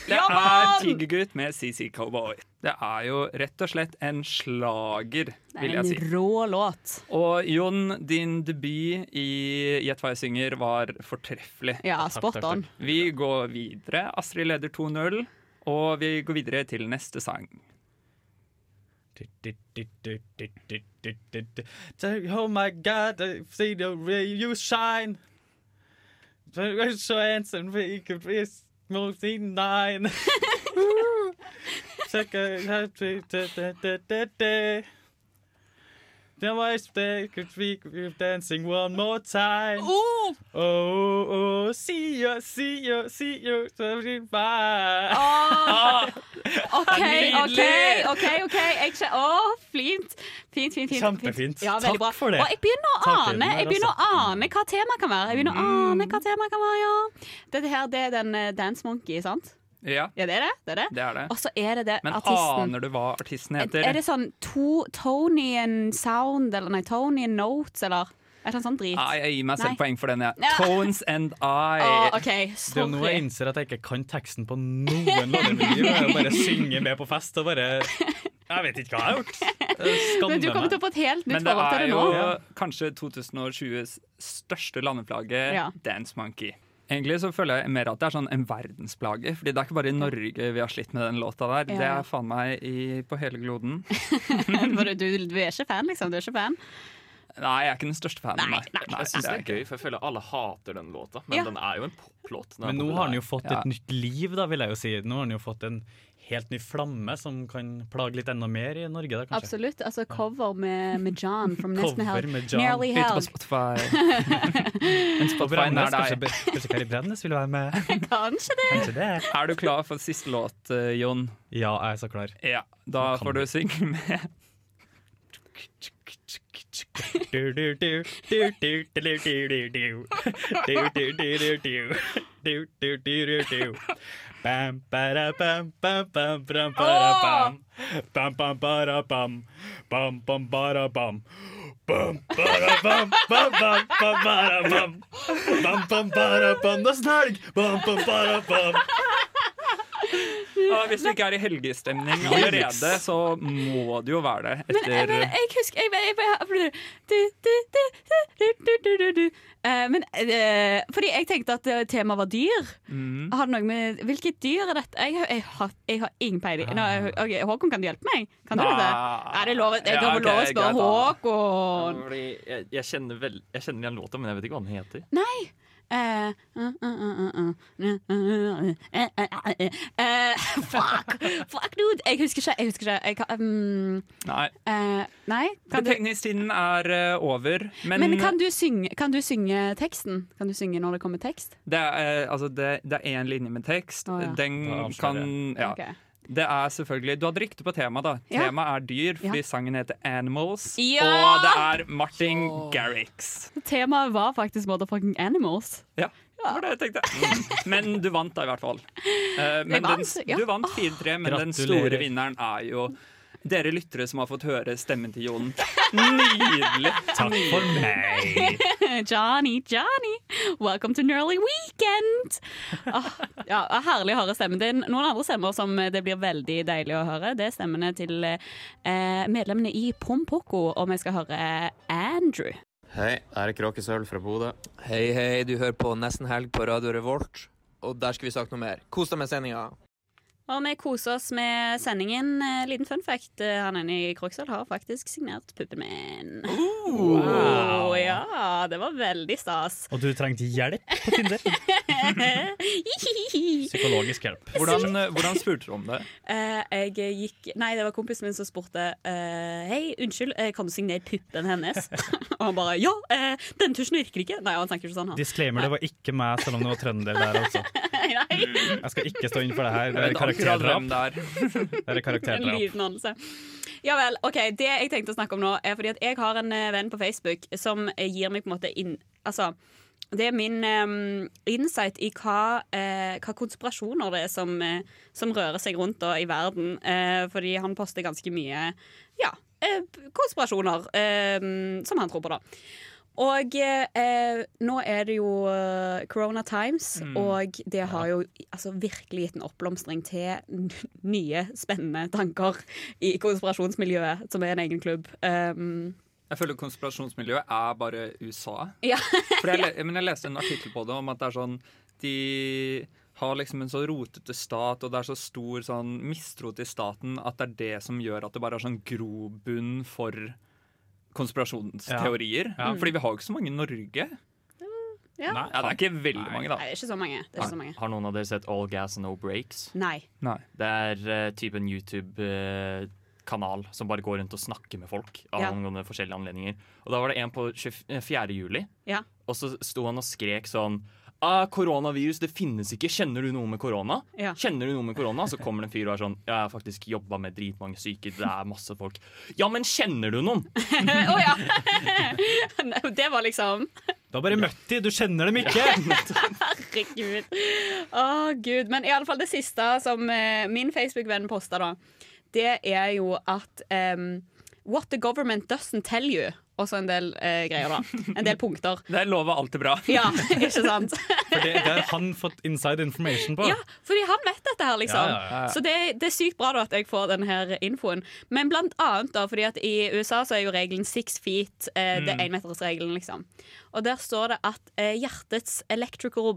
Speaker 3: Det
Speaker 2: Ja,
Speaker 3: er
Speaker 2: mann!
Speaker 3: Tigergutt med CC Cowboy. Det er jo rett og slett en slager,
Speaker 2: Det
Speaker 3: vil jeg
Speaker 2: er en
Speaker 3: si.
Speaker 2: rå låt.
Speaker 3: Og Jon, din debut i Gjett hva jeg synger var fortreffelig.
Speaker 2: Ja, Takk, spot takk, on. takk.
Speaker 3: Vi går videre. Astrid leder 2-0, og vi går videre til neste sang.
Speaker 5: Oh my God, I see the way you shine. You're so handsome, we could be mostly nine. Check it out, da, da, da, da, da. Then why is there could we keep dancing one more time?
Speaker 2: Oh,
Speaker 5: oh, oh, see you, see you, see you, sorry, bye.
Speaker 2: Åh. OK, OK,
Speaker 5: Nydelig!
Speaker 2: OK. ok jeg skjø- Å, flint. Fint, fint, fint.
Speaker 5: Kjempefint.
Speaker 2: Ja, veldig
Speaker 5: Takk
Speaker 2: bra.
Speaker 5: for det.
Speaker 2: Og jeg begynner å
Speaker 5: Takk,
Speaker 2: ane,
Speaker 5: Ellen,
Speaker 2: jeg
Speaker 5: der
Speaker 2: begynner å
Speaker 5: også.
Speaker 2: ane hva temaet kan være. Jeg begynner å ane hva temaet kan være, ja. Dette her, det er den eh, Dance Monkey, sant?
Speaker 3: Ja,
Speaker 2: Ja, det er det. det, er det.
Speaker 3: det er det.
Speaker 2: Og så er det det
Speaker 3: Men
Speaker 2: artisten.
Speaker 3: aner du hva artisten heter?
Speaker 2: Er det sånn to Tony and Sound, eller nei, Tony and Notes, eller et eller annet sånt drit?
Speaker 3: Nei, jeg gir meg
Speaker 2: Nei.
Speaker 3: selv poeng for den, jeg.
Speaker 2: Ja.
Speaker 3: Tones and I.
Speaker 2: Å, OK,
Speaker 5: Det er jo nå jeg
Speaker 2: sorry.
Speaker 5: innser at jeg ikke kan teksten på noen låter. i mitt liv. Jeg bare synger med på fest og bare Jeg vet ikke hva jeg har gjort. Jeg skammer
Speaker 2: Men du kommer
Speaker 5: meg.
Speaker 2: til å få et helt nytt
Speaker 3: Men det
Speaker 2: forhold til
Speaker 3: er
Speaker 2: det
Speaker 3: jo
Speaker 2: nå.
Speaker 3: kanskje 2020s største landeplage,
Speaker 2: Ja.
Speaker 3: Dance Monkey. Egentlig så føler jeg mer at det er sånn en verdensplage. Fordi det er ikke bare i Norge vi har slitt med den låta der.
Speaker 2: Ja.
Speaker 3: Det er faen meg i, på hele gloden.
Speaker 2: Bare, du, du er ikke fan, liksom. Du er ikke fan.
Speaker 3: Nei, jeg er ikke den største fanen. Nei,
Speaker 10: Jeg syns det
Speaker 3: det er
Speaker 10: er gøy, for jeg føler alle hater den låta. Men
Speaker 2: Ja.
Speaker 10: den er jo en poplåt. Den er
Speaker 5: Men nå har
Speaker 10: populær.
Speaker 5: han jo fått et nytt liv, da, vil jeg jo si. Nå har han jo fått en helt ny flamme som kan plage litt enda mer i Norge, da, kanskje.
Speaker 2: Absolutt. Altså cover med, med John from Nesten
Speaker 5: Cover
Speaker 2: Helg.
Speaker 5: med John.
Speaker 2: Nearly
Speaker 5: Ute på
Speaker 2: Helg.
Speaker 3: Spotify. En
Speaker 5: Og
Speaker 3: Spotify
Speaker 5: Brandnes,
Speaker 3: nær
Speaker 5: kanskje,
Speaker 3: deg.
Speaker 5: Be- kanskje Kari Brandnes vil være med?
Speaker 2: Kanskje det.
Speaker 5: Kanskje det.
Speaker 3: Er du klar for siste låt, eh, Jon?
Speaker 5: Ja, jeg er så klar.
Speaker 3: Ja, da får du synge med.
Speaker 5: Du, du, du, du, du, du, du, du, du, du. Du, du, du, du, du. Du, du, du, du, du. Bam, bara, bam, bam, bam, bam, bara, bam. Bam, bam, bara, bam. Bam, bam, bara, bam. Bam, bara, bam, bam, bam, bam, bara, bam. Bam, bam, bara, bam. Det er snelg! Bam, bam, bara, bam.
Speaker 3: Og hvis du ikke er i helgestemning allerede, så må du jo være det
Speaker 2: Men, eh,
Speaker 3: etter
Speaker 2: men jeg husker jeg, jeg, jeg, du, du, du, du, du, du, du, du. Eh, Men eh, Fordi jeg tenkte at eh, temaet var dyr.
Speaker 3: Mm.
Speaker 2: Har det noe med Hvilket dyr er dette? Jeg, har- jeg, har, jeg har ingen peiling. Nå, jeg, ok, Håkon, kan du hjelpe meg? Kan du
Speaker 10: Nei.
Speaker 2: det? Er det lov, jeg
Speaker 10: Ja,
Speaker 2: kan få
Speaker 10: ok,
Speaker 2: lov å spørre
Speaker 10: greit da.
Speaker 2: Håkon?
Speaker 10: Fordi Jeg, jeg kjenner vel Jeg kjenner igjen låta, men jeg vet ikke hva den heter.
Speaker 2: Nei. Eh, uh, uh, uh, uh, uh, uh, uh, uh, uh, uh, uh, Fuck! Fuck, dude! Jeg husker ikke. Jeg husker ikke. Jeg kan, um,
Speaker 3: Nei.
Speaker 2: eh, nei? Kan du,
Speaker 3: Betegningstiden er eh, over, men, eh,
Speaker 2: men kan du, synge, kan du synge teksten? Kan du synge når det kommer tekst?
Speaker 3: det, er, eh, altså det, det er én linje med tekst.
Speaker 2: Å, ja.
Speaker 3: Den
Speaker 2: Da avslører
Speaker 3: kan ja.
Speaker 2: Ok.
Speaker 3: Det er selvfølgelig Du hadde riktig på temaet, da.
Speaker 2: Ja.
Speaker 3: Temaet er dyr, fordi sangen heter 'Animals'.
Speaker 2: Ja!
Speaker 3: Og det er Martin Garrix.
Speaker 2: Temaet var faktisk motherfucking animals.
Speaker 3: Ja, det var det jeg tenkte. Mm. Men du vant da, i hvert fall. Eh, men
Speaker 2: Jeg vant,
Speaker 3: den,
Speaker 2: ja.
Speaker 3: Du vant 4-3, men den
Speaker 5: Gratulerer.
Speaker 3: store vinneren er jo dere lyttere som har fått høre stemmen til Jon. Nydelig!
Speaker 5: Takk for meg.
Speaker 2: Johnny, Johnny, welcome to Nearly Weekend! Åh, ja, herlig å høre stemmen din. Noen andre stemmer som det blir veldig deilig å høre, det er stemmene til eh, medlemmene i Pompoko, og vi skal høre Andrew.
Speaker 18: Hei, her er Kråkesølv fra Bodø.
Speaker 19: Hei, hei, du hører på Nesten Helg på Radio Revolt, og der skal vi snakke noe mer. Kos deg med sendinga.
Speaker 2: Og vi koser oss med sendingen. Eh, Liten fun fact, eh, han ene i Kroksdal har faktisk signert puppen min.
Speaker 3: Wow.
Speaker 2: ja, det var veldig stas.
Speaker 5: Og du trengte hjelp på Tinder? Psykologisk hjelp.
Speaker 3: Hvordan, hvordan spurte du om det?
Speaker 2: Eh, jeg gikk Nei, det var kompisen min som spurte eh, Hei, unnskyld, eh, kan du signere puppen hennes? og han bare ja, eh, den tusjen virker ikke. Nei, han tenker ikke sånn, han.
Speaker 5: Disclaimer, det var ikke meg, selv om det var trønder der også. Jeg skal ikke stå inn for det her. Det
Speaker 3: Jeg
Speaker 5: er
Speaker 3: vet akkurat hvem
Speaker 5: karakterdrap. Det er
Speaker 2: En
Speaker 5: karakterdrap.
Speaker 2: liten anelse. Ja vel. ok, Det jeg tenkte å snakke om nå, er fordi at jeg har en eh, venn på Facebook som eh, gir meg på en måte inn... Altså, det er min eh, insight i hva, eh, hva konspirasjoner det er som, eh, som rører seg rundt da, i verden. Eh, fordi han poster ganske mye ja, eh, konspirasjoner eh, som han tror på, da. Og eh, eh, nå er det jo eh, Corona Times,
Speaker 20: Mm.
Speaker 2: og det har jo altså, virkelig gitt en oppblomstring til n- nye, spennende tanker i konspirasjonsmiljøet, som er en egen klubb. Um,
Speaker 3: Jeg føler konspirasjonsmiljøet er bare USA.
Speaker 2: Ja.
Speaker 3: For jeg, le- men jeg leste en artikkel på det om at det er sånn De har liksom en så rotete stat, og det er så stor sånn mistro til staten at det er det som gjør at det bare er sånn grobunn for konspirasjonsteorier.
Speaker 2: Ja. Ja.
Speaker 3: Fordi vi har jo ikke så mange i Norge.
Speaker 2: ja.
Speaker 3: Nei, det er ikke veldig mange, da.
Speaker 2: Nei, det er ikke så mange. Det er ikke så mange.
Speaker 10: Har noen av dere sett All Gas No Breaks?
Speaker 2: Nei.
Speaker 10: Det er eh, typen YouTube-kanal som bare går rundt og snakker med folk av
Speaker 2: Ja.
Speaker 10: angående forskjellige anledninger. Og da var det en på 24. juli,
Speaker 2: Ja.
Speaker 10: og så sto han og skrek sånn Ah, koronavirus, det finnes ikke. Kjenner du noe med korona?
Speaker 2: Ja.
Speaker 10: Kjenner du noe med korona? Så kommer det en fyr og er sånn Jeg har faktisk jobba med dritmange syke, det er masse folk. Ja, men kjenner du noen?
Speaker 2: det var liksom
Speaker 5: Da bare møtt de, du kjenner dem ikke!
Speaker 2: Herregud. Å, gud. Men i alle fall det siste som eh, min Facebook-venn posta, da, det er jo at em, What the government doesn't tell you. Også en del eh, greier, da. En del punkter.
Speaker 3: Det lover alltid bra.
Speaker 2: Ja, ikke sant?
Speaker 5: For det, det har han fått inside information på.
Speaker 2: Ja, fordi han vet dette her, liksom.
Speaker 5: Ja, ja, ja.
Speaker 2: Så det, det er sykt bra da at jeg får den her infoen. Men blant annet, da, fordi at i USA så er jo regelen six feet, eh,
Speaker 20: Mm.
Speaker 2: det er énmetersregelen, liksom. Og der står det at eh, hjertets electrical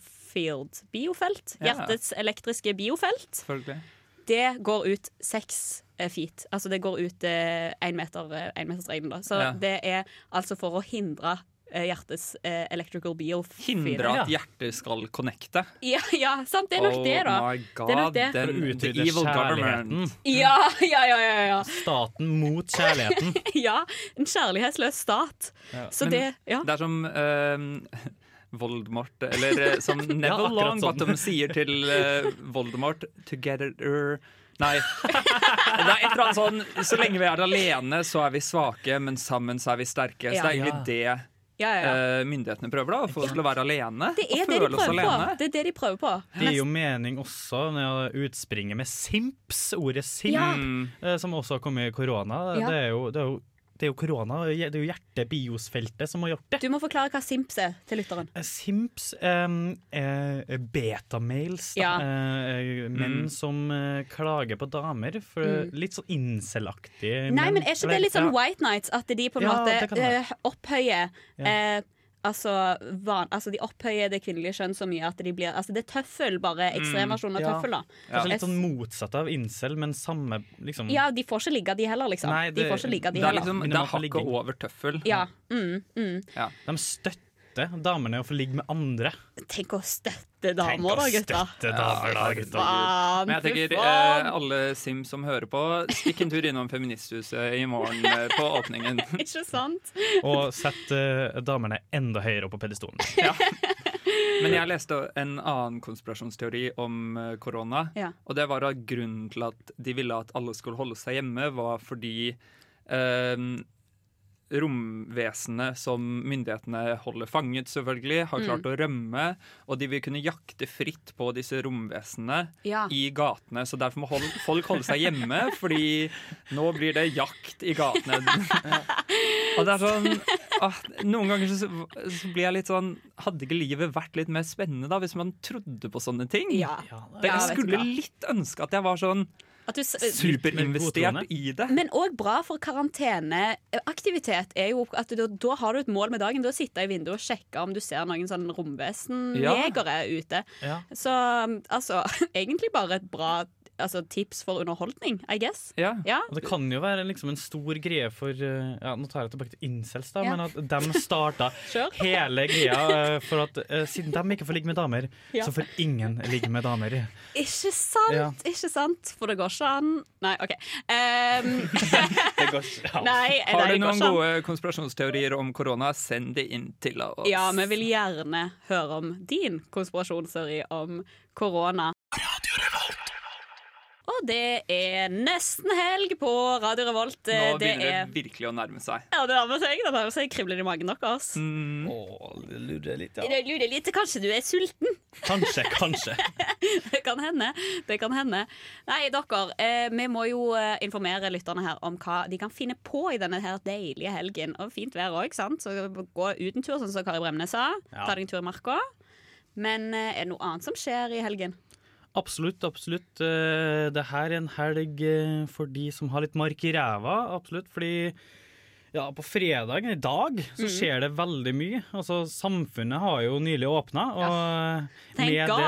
Speaker 2: biofield Biofelt?
Speaker 20: Ja.
Speaker 2: Hjertets elektriske biofelt.
Speaker 3: Selvfølgelig.
Speaker 2: Det går ut seks eh, feet. Altså det går ut én eh, en meter, eh, enmetersregelen, da. Så
Speaker 3: Ja.
Speaker 2: det er altså for å hindre eh, hjertets eh, electrical biofield.
Speaker 3: Hindre at hjertet skal connecte.
Speaker 2: Ja, ja, sant. Det er nok
Speaker 3: oh
Speaker 2: det, da.
Speaker 3: my god,
Speaker 2: det er nok det.
Speaker 3: Den,
Speaker 5: For å
Speaker 3: the
Speaker 5: utvide
Speaker 3: evil
Speaker 5: kjærligheten.
Speaker 3: government.
Speaker 2: Ja, ja, ja, ja, ja.
Speaker 5: Staten mot kjærligheten.
Speaker 2: ja. En kjærlighetsløs stat. Så
Speaker 3: Men
Speaker 2: det Ja.
Speaker 3: det er som eh, Voldemort Eller eh, som
Speaker 5: Ja,
Speaker 3: Neville
Speaker 5: akkurat
Speaker 3: Longbottom
Speaker 5: sånn.
Speaker 3: sier til eh, Voldemort Together Nei. Det er et eller annet sånn Så lenge vi er alene, så er vi svake, men sammen så er vi sterke. Så
Speaker 2: Ja.
Speaker 3: det er egentlig det
Speaker 2: Ja, ja, ja.
Speaker 3: eh, myndighetene prøver, da. Å få oss til å være alene.
Speaker 2: Det er
Speaker 3: og
Speaker 2: det de
Speaker 3: føle oss
Speaker 2: prøver på.
Speaker 3: alene.
Speaker 2: Det er det de prøver på.
Speaker 5: Det gir jo mening også når jeg utspringet med simps, ordet simp,
Speaker 2: Ja.
Speaker 3: Mm.
Speaker 5: eh, som også har kommet i korona.
Speaker 2: Ja.
Speaker 5: Det, er jo, det, er jo, det er jo korona, og det er jo hjertebiosfeltet som har gjort det.
Speaker 2: Du må forklare hva simps er til lytteren.
Speaker 5: Simps um, er betamails, da.
Speaker 2: Ja.
Speaker 5: Eh, menn
Speaker 2: Mm.
Speaker 5: som eh, klager på damer. For
Speaker 2: Mm.
Speaker 5: Litt sånn incel-aktig.
Speaker 2: Nei, men er ikke det litt sånn White Nights at de på en
Speaker 5: Ja, det
Speaker 2: måte
Speaker 5: kan det være.
Speaker 2: eh, opphøyer
Speaker 5: Ja.
Speaker 2: eh, Altså, van, altså De opphøyer det kvinnelige kjønn så mye at de blir Altså Det er tøffel,
Speaker 5: Mm,
Speaker 2: bare ekstremversjon av tøffel. da
Speaker 5: Kanskje litt
Speaker 2: Jeg-
Speaker 5: sånn motsatt av incel, men samme liksom
Speaker 2: Ja, de får ikke ligge, de heller, liksom.
Speaker 5: Nei,
Speaker 2: de får ikke ligge, de
Speaker 5: det er
Speaker 2: heller.
Speaker 5: liksom-
Speaker 3: Det er hakket over tøffel.
Speaker 2: Ja. Mm, mm.
Speaker 5: De støtter damene i å få ligge med andre.
Speaker 2: Tenk å støtte damer, da,
Speaker 5: å
Speaker 2: gutta.
Speaker 5: støtte damer, da, gutta.
Speaker 2: Faen,
Speaker 3: Men jeg
Speaker 2: fy
Speaker 3: tenker
Speaker 2: faen.
Speaker 3: eh, alle Sim som hører på, stikk en tur innom Feministhuset i morgen eh, på åpningen.
Speaker 2: Ikke sant?
Speaker 5: Og sett eh, damene enda høyere opp på pedestolen.
Speaker 3: Men jeg leste en annen konspirasjonsteori om eh, korona.
Speaker 2: Ja.
Speaker 3: Og det var at grunnen til at de ville at alle skulle holde seg hjemme, var fordi eh, romvesenet som myndighetene holder fanget, selvfølgelig, har klart
Speaker 2: Mm.
Speaker 3: å rømme. Og de vil kunne jakte fritt på disse romvesenene
Speaker 2: Ja.
Speaker 3: i gatene. Så derfor må hold, folk holde seg hjemme, fordi nå blir det jakt i gatene. Og det er sånn ah, Noen ganger så, så blir jeg litt sånn Hadde ikke livet vært litt mer spennende da hvis man trodde på sånne ting?
Speaker 2: Ja.
Speaker 3: Det,
Speaker 2: Ja,
Speaker 3: jeg
Speaker 2: vet du
Speaker 3: skulle
Speaker 2: hva.
Speaker 3: litt ønske at jeg var sånn
Speaker 2: At du s- eh,
Speaker 3: superinvestert i det.
Speaker 2: Men òg bra for karanteneaktivitet er jo at da, da har du et mål med dagen. Da sitter jeg i vinduet og sjekker om du ser noen sånn romvesenjegere ute.
Speaker 20: Ja.
Speaker 2: Så altså, egentlig bare et bra altså, tips for underholdning, I guess.
Speaker 5: Ja.
Speaker 2: Ja.
Speaker 5: Og det kan jo være liksom en stor greie for eh, ja, Nå tar jeg tilbake til incels, da,
Speaker 2: Ja.
Speaker 5: men at de starta
Speaker 2: Kjør.
Speaker 5: hele greia eh, for at eh, siden de ikke får ligge med damer,
Speaker 2: Ja.
Speaker 5: så får ingen ligge med damer.
Speaker 2: Ikke sant,
Speaker 5: Ja.
Speaker 2: ikke sant, for det går ikke an Nei, OK. Ehm,
Speaker 5: Det går ikke.
Speaker 2: nei, nei,
Speaker 3: Har du noen
Speaker 2: det går ikke sånn. an.
Speaker 3: gode konspirasjonsteorier om korona, send det inn til oss.
Speaker 2: Ja, vi vil gjerne høre om din konspirasjonsteori om korona. Og det er nesten helg på Radio Revolt.
Speaker 3: Nå
Speaker 2: Eh, Det
Speaker 3: begynner det
Speaker 2: er
Speaker 3: virkelig å nærme seg.
Speaker 2: ja, det nærmer seg. Det nærmer seg kribler i magen deres.
Speaker 3: Mm.
Speaker 2: Mm.
Speaker 5: det lurer litt,
Speaker 2: Jeg lurer litt. Kanskje du er sulten?
Speaker 5: Kanskje, kanskje.
Speaker 2: Det kan hende. Det kan hende. Nei, dere, eh, vi må jo eh, informere lytterne her om hva de kan finne på i denne her deilige helgen. Og fint vær òg, sant? Så gå ut en tur, sånn som Kari Bremnes sa.
Speaker 5: Ja.
Speaker 2: Ta deg en tur i marka. Men eh, er det noe annet som skjer i helgen?
Speaker 5: Absolutt, absolutt. Eh, Det her er en helg eh, for de som har litt mark i ræva, absolutt. Fordi ja, på fredag i dag så
Speaker 2: Mhm.
Speaker 5: skjer det veldig mye. Altså, samfunnet har jo nylig åpna, og eh,
Speaker 2: Thank
Speaker 5: med det
Speaker 2: God.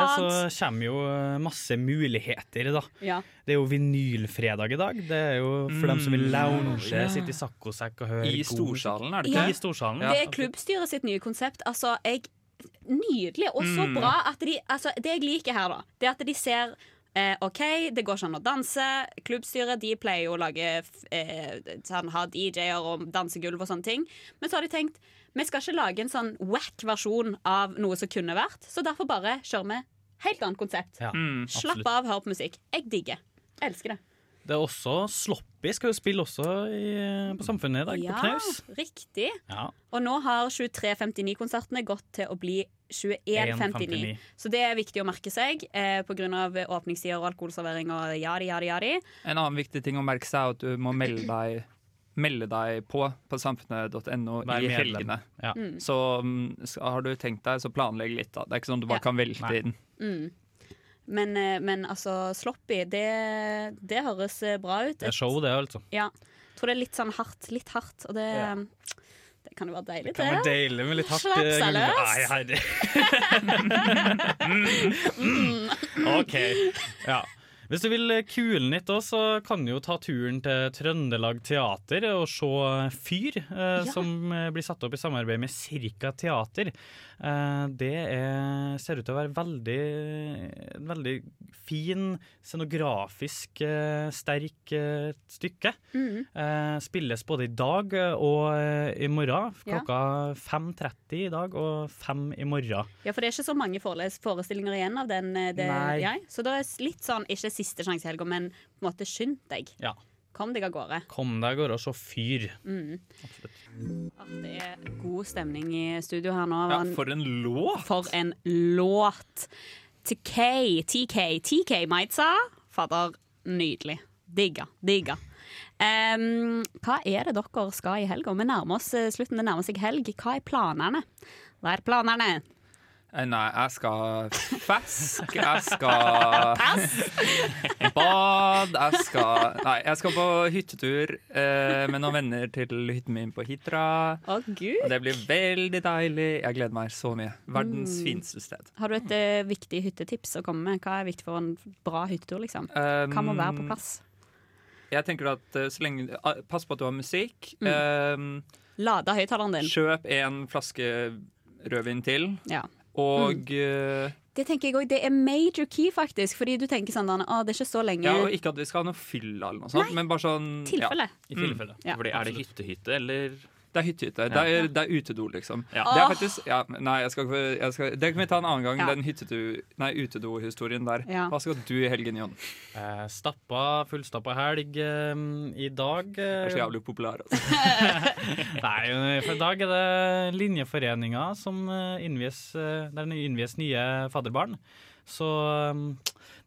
Speaker 5: så kommer jo eh, masse muligheter, da.
Speaker 2: Ja.
Speaker 5: Det er jo vinylfredag i dag. Det er jo for dem som vil lounge,
Speaker 3: Ja.
Speaker 5: sitte Mm, i sakkosekk og høre
Speaker 3: I
Speaker 5: god-
Speaker 3: Storsalen, er det ikke?
Speaker 2: Ja.
Speaker 5: I Storsalen.
Speaker 2: Det er klubbstyret sitt nye konsept. Altså, jeg Nydelig og så
Speaker 5: Mm.
Speaker 2: bra at de altså, Det jeg liker her, da, det er at de ser eh, OK, det går ikke an å danse. Klubbstyret de pleier jo å lage f- eh, sånn, ha DJ-er og dansegulv og sånne ting. Men så har de tenkt vi skal ikke lage en sånn wack versjon av noe som kunne vært, så derfor bare kjører vi helt annet konsept.
Speaker 5: Ja, Mm.
Speaker 2: Slapp
Speaker 5: absolutt.
Speaker 2: av, hør på musikk. Jeg digger. Elsker det.
Speaker 5: Det er også Sloppy skal jo spille også i, på Samfunnet i dag, på Knaus.
Speaker 2: riktig.
Speaker 5: Ja.
Speaker 2: Og nå har 2359-konsertene gått til å bli 2159.
Speaker 5: 21.59.
Speaker 2: Så det er viktig å merke seg eh, pga. åpningstider og alkoholservering og jadi, jadi, jadi.
Speaker 3: En annen viktig ting å merke seg er at du må melde deg, melde deg på på samfunnet.no
Speaker 5: Vær
Speaker 3: i
Speaker 5: medlem.
Speaker 3: helgene.
Speaker 5: Ja.
Speaker 2: Mm.
Speaker 3: Så mm, skal- har du tenkt deg, så planlegg litt. da. Det er ikke sånn du
Speaker 2: Ja.
Speaker 3: bare kan velte inn.
Speaker 2: Mm. Men, eh, men altså, sloppy, det, det høres eh, bra ut.
Speaker 5: Det er show, det, altså.
Speaker 2: Ja. Jeg tror det er litt sånn hardt. Litt hardt, og det,
Speaker 5: Ja.
Speaker 2: det kan jo være deilig, det.
Speaker 5: Kan være deilig med litt hardt
Speaker 2: Slapp
Speaker 5: eh,
Speaker 2: seg
Speaker 5: gulv. Nei,
Speaker 2: løs.
Speaker 5: herre. Mm. OK. Ja. Hvis du vil kule litt òg, så kan du jo ta turen til Trøndelag Teater og se Fyr, eh, som eh, blir satt opp i samarbeid med Cirka Teater. Eh, det er, ser ut til å være veldig, en veldig fin, scenografisk eh, sterk eh, stykke.
Speaker 2: Mhm.
Speaker 5: Eh, spilles både i dag og eh, i morgen.
Speaker 2: Ja.
Speaker 5: Klokka 5.30 i dag og 5 i morgen.
Speaker 2: Ja, for det er ikke så mange foreles- forestillinger igjen av den. eh, Det,
Speaker 5: Nei.
Speaker 2: ja. Så da er det litt sånn, ikke siste sjanse i helga, men på en måte skynd deg.
Speaker 5: Ja.
Speaker 2: Kom deg av gårde.
Speaker 5: Kom deg av gårde og se fyr.
Speaker 2: Mm.
Speaker 5: Absolutt.
Speaker 2: At Det er eh, god stemning i studio her nå.
Speaker 3: Ja, for en låt!
Speaker 2: For en låt. TK, TK, TK Maitza. Fader, nydelig. Digga, digga. Em, hva er det dere skal i helga? Vi nærmer oss eh, slutten, det nærmer seg helg. Hva er planene? Hva er planene?
Speaker 3: Eh, Nei, jeg skal fesk, jeg skal bad, jeg skal Nei, jeg skal på hyttetur eh, med noen venner til hytten min på Hitra.
Speaker 2: Å, gud.
Speaker 3: Og det blir veldig deilig. Jeg gleder meg så mye. Verdens
Speaker 2: Mm.
Speaker 3: fineste sted.
Speaker 2: Har du et eh, viktig hyttetips å komme med? Hva er viktig for en bra hyttetur, liksom?
Speaker 3: Um,
Speaker 2: Hva må være på plass?
Speaker 3: Jeg tenker at eh, så lenge, ah, Pass på at du har musikk.
Speaker 2: Lade høyttaleren
Speaker 3: Eh,
Speaker 2: din.
Speaker 3: kjøp en flaske rødvin til.
Speaker 2: Ja.
Speaker 3: Og, eh,
Speaker 2: Det tenker jeg også, det er major key, faktisk. Fordi du tenker sånn Å, det er ikke så lenge.
Speaker 3: ja, og ikke at vi skal ha noe fylla eller noe sånt, men bare sånn
Speaker 2: Tilfelle.
Speaker 3: Ja.
Speaker 2: I
Speaker 5: Mm.
Speaker 2: tilfelle. Ja.
Speaker 10: Fordi er det hyttehytte, eller?
Speaker 3: Det er hyttehytte. Det, er- det er utedo, liksom.
Speaker 10: Ja.
Speaker 3: Det er
Speaker 10: Åh.
Speaker 3: faktisk ja, Nei, jeg skal, ikke- jeg skal, det kan vi ta en annen gang,
Speaker 10: Ja.
Speaker 3: den hyttedo- nei, utedo-historien der.
Speaker 5: Ja.
Speaker 3: Hva skal du i helgen, Jon?
Speaker 5: Eh, stappa, fullstappa helg eh, i dag.
Speaker 3: Du
Speaker 5: eh,
Speaker 3: er så jævlig populær. Altså.
Speaker 5: Nei, for i dag er det linjeforeninga som eh, innvies, eh, der det innvies nye fadderbarn. Så um,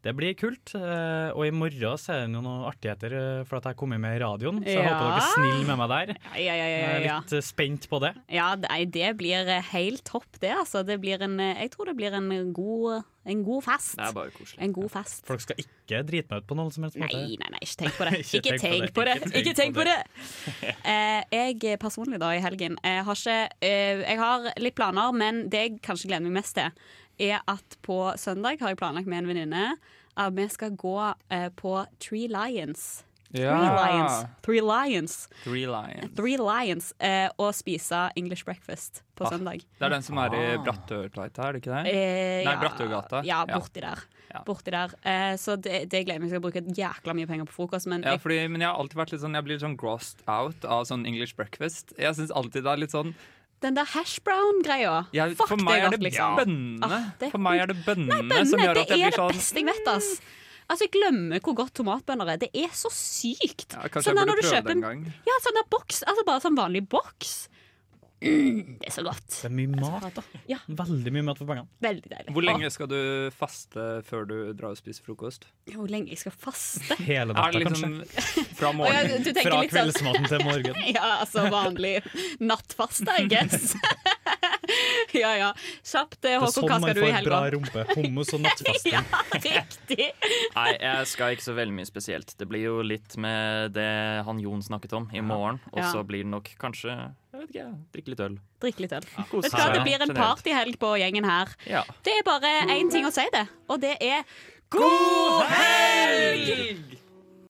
Speaker 5: det blir kult. eh, Og i morgen så er det jo noen artigheter eh, for at jeg har kommet med i radioen. Så jeg
Speaker 2: Ja.
Speaker 5: håper dere er snille med meg der.
Speaker 2: Ja, ja, ja,
Speaker 5: Jeg er
Speaker 2: ja,
Speaker 5: litt eh, spent på det.
Speaker 2: ja det, nei, det blir eh, helt topp, det. Altså. det blir en, eh, jeg tror det blir en god, en god fest.
Speaker 5: Det er bare koselig.
Speaker 2: En god fest.
Speaker 5: Folk skal ikke drite meg ut på noen som helst måte.
Speaker 2: Nei, nei, nei, ikke tenk på det. Ikke tenk på det. Ikke tenk på det. Eh, jeg personlig da i helgen eh, har ikke eh, Jeg har litt planer, men det jeg kanskje gleder meg mest til, er at på søndag har jeg planlagt med en venninne at vi skal gå eh, på Three Lions. Three
Speaker 3: Ja.
Speaker 2: Lions. Three Lions.
Speaker 3: Three Lions.
Speaker 2: Three Lions eh, og spise English breakfast på
Speaker 3: Ah,
Speaker 2: søndag.
Speaker 3: Det er den som er i
Speaker 2: Ah.
Speaker 3: Brattørgata, er det ikke det?
Speaker 2: Eh,
Speaker 3: Nei,
Speaker 2: ja.
Speaker 3: Brattørgata.
Speaker 2: Ja, borti der. Borti der. Eh, så det, det gleder jeg meg til å bruke jækla mye penger på frokost, men
Speaker 3: Ja,
Speaker 2: jeg,
Speaker 3: fordi, men jeg har alltid vært litt sånn Jeg blir sånn grossed out av sånn English breakfast. Jeg syns alltid det er litt sånn
Speaker 2: den der hash brown-greia
Speaker 3: jeg,
Speaker 2: Fuck
Speaker 3: For
Speaker 2: det
Speaker 3: meg
Speaker 2: er
Speaker 3: er
Speaker 2: godt,
Speaker 3: det
Speaker 2: liksom.
Speaker 3: bønnene.
Speaker 2: Ah, det-
Speaker 3: For meg er det bønnene
Speaker 2: Bønner,
Speaker 3: som gjør at
Speaker 2: det
Speaker 3: jeg
Speaker 2: er
Speaker 3: blir
Speaker 2: det
Speaker 3: sånn
Speaker 2: beste jeg vet, ass. Altså, Jeg glemmer hvor godt tomatbønner er. Det er så sykt.
Speaker 3: Ja, kanskje jeg
Speaker 2: Sånn der når
Speaker 3: burde
Speaker 2: du
Speaker 3: prøve
Speaker 2: kjøper
Speaker 3: det en
Speaker 2: en-
Speaker 3: gang.
Speaker 2: Ja, sånn der boks. Altså bare sånn vanlig boks. Mm, det er så godt.
Speaker 5: Det er mye mat, da. Veldig mye mat for pengene.
Speaker 2: Veldig deilig.
Speaker 3: Hvor lenge skal du faste før du drar og spiser frokost?
Speaker 2: Å, Hvor lenge jeg skal faste?
Speaker 5: Hele
Speaker 3: Er det
Speaker 5: natta,
Speaker 3: liksom fra
Speaker 2: Å, ja,
Speaker 3: morgenen?
Speaker 2: du tenker
Speaker 5: Fra
Speaker 2: litt sånn-
Speaker 5: kveldsmaten til morgenen.
Speaker 2: ja, altså vanlig nattfaste, I guess. ja, ja. Kjapt, eh,
Speaker 5: Det er
Speaker 2: Håkon,
Speaker 5: sånn
Speaker 2: hva
Speaker 5: man
Speaker 2: skal du i
Speaker 5: får bra
Speaker 2: helga?
Speaker 5: rumpe. Hummus og nattfasting.
Speaker 2: ja, riktig.
Speaker 10: Nei, jeg skal ikke så veldig mye spesielt. Det blir jo litt med det han Jon snakket om i morgen. Og
Speaker 2: Ja.
Speaker 10: så blir det nok kanskje jeg vet ikke, drikke litt øl.
Speaker 2: Drikke litt øl.
Speaker 10: kos
Speaker 2: Vet du hva,
Speaker 10: deg.
Speaker 2: det blir en
Speaker 10: Generelt.
Speaker 2: partyhelg på gjengen her.
Speaker 10: Ja.
Speaker 2: Det er bare én ting å si, det. Og det er God helg!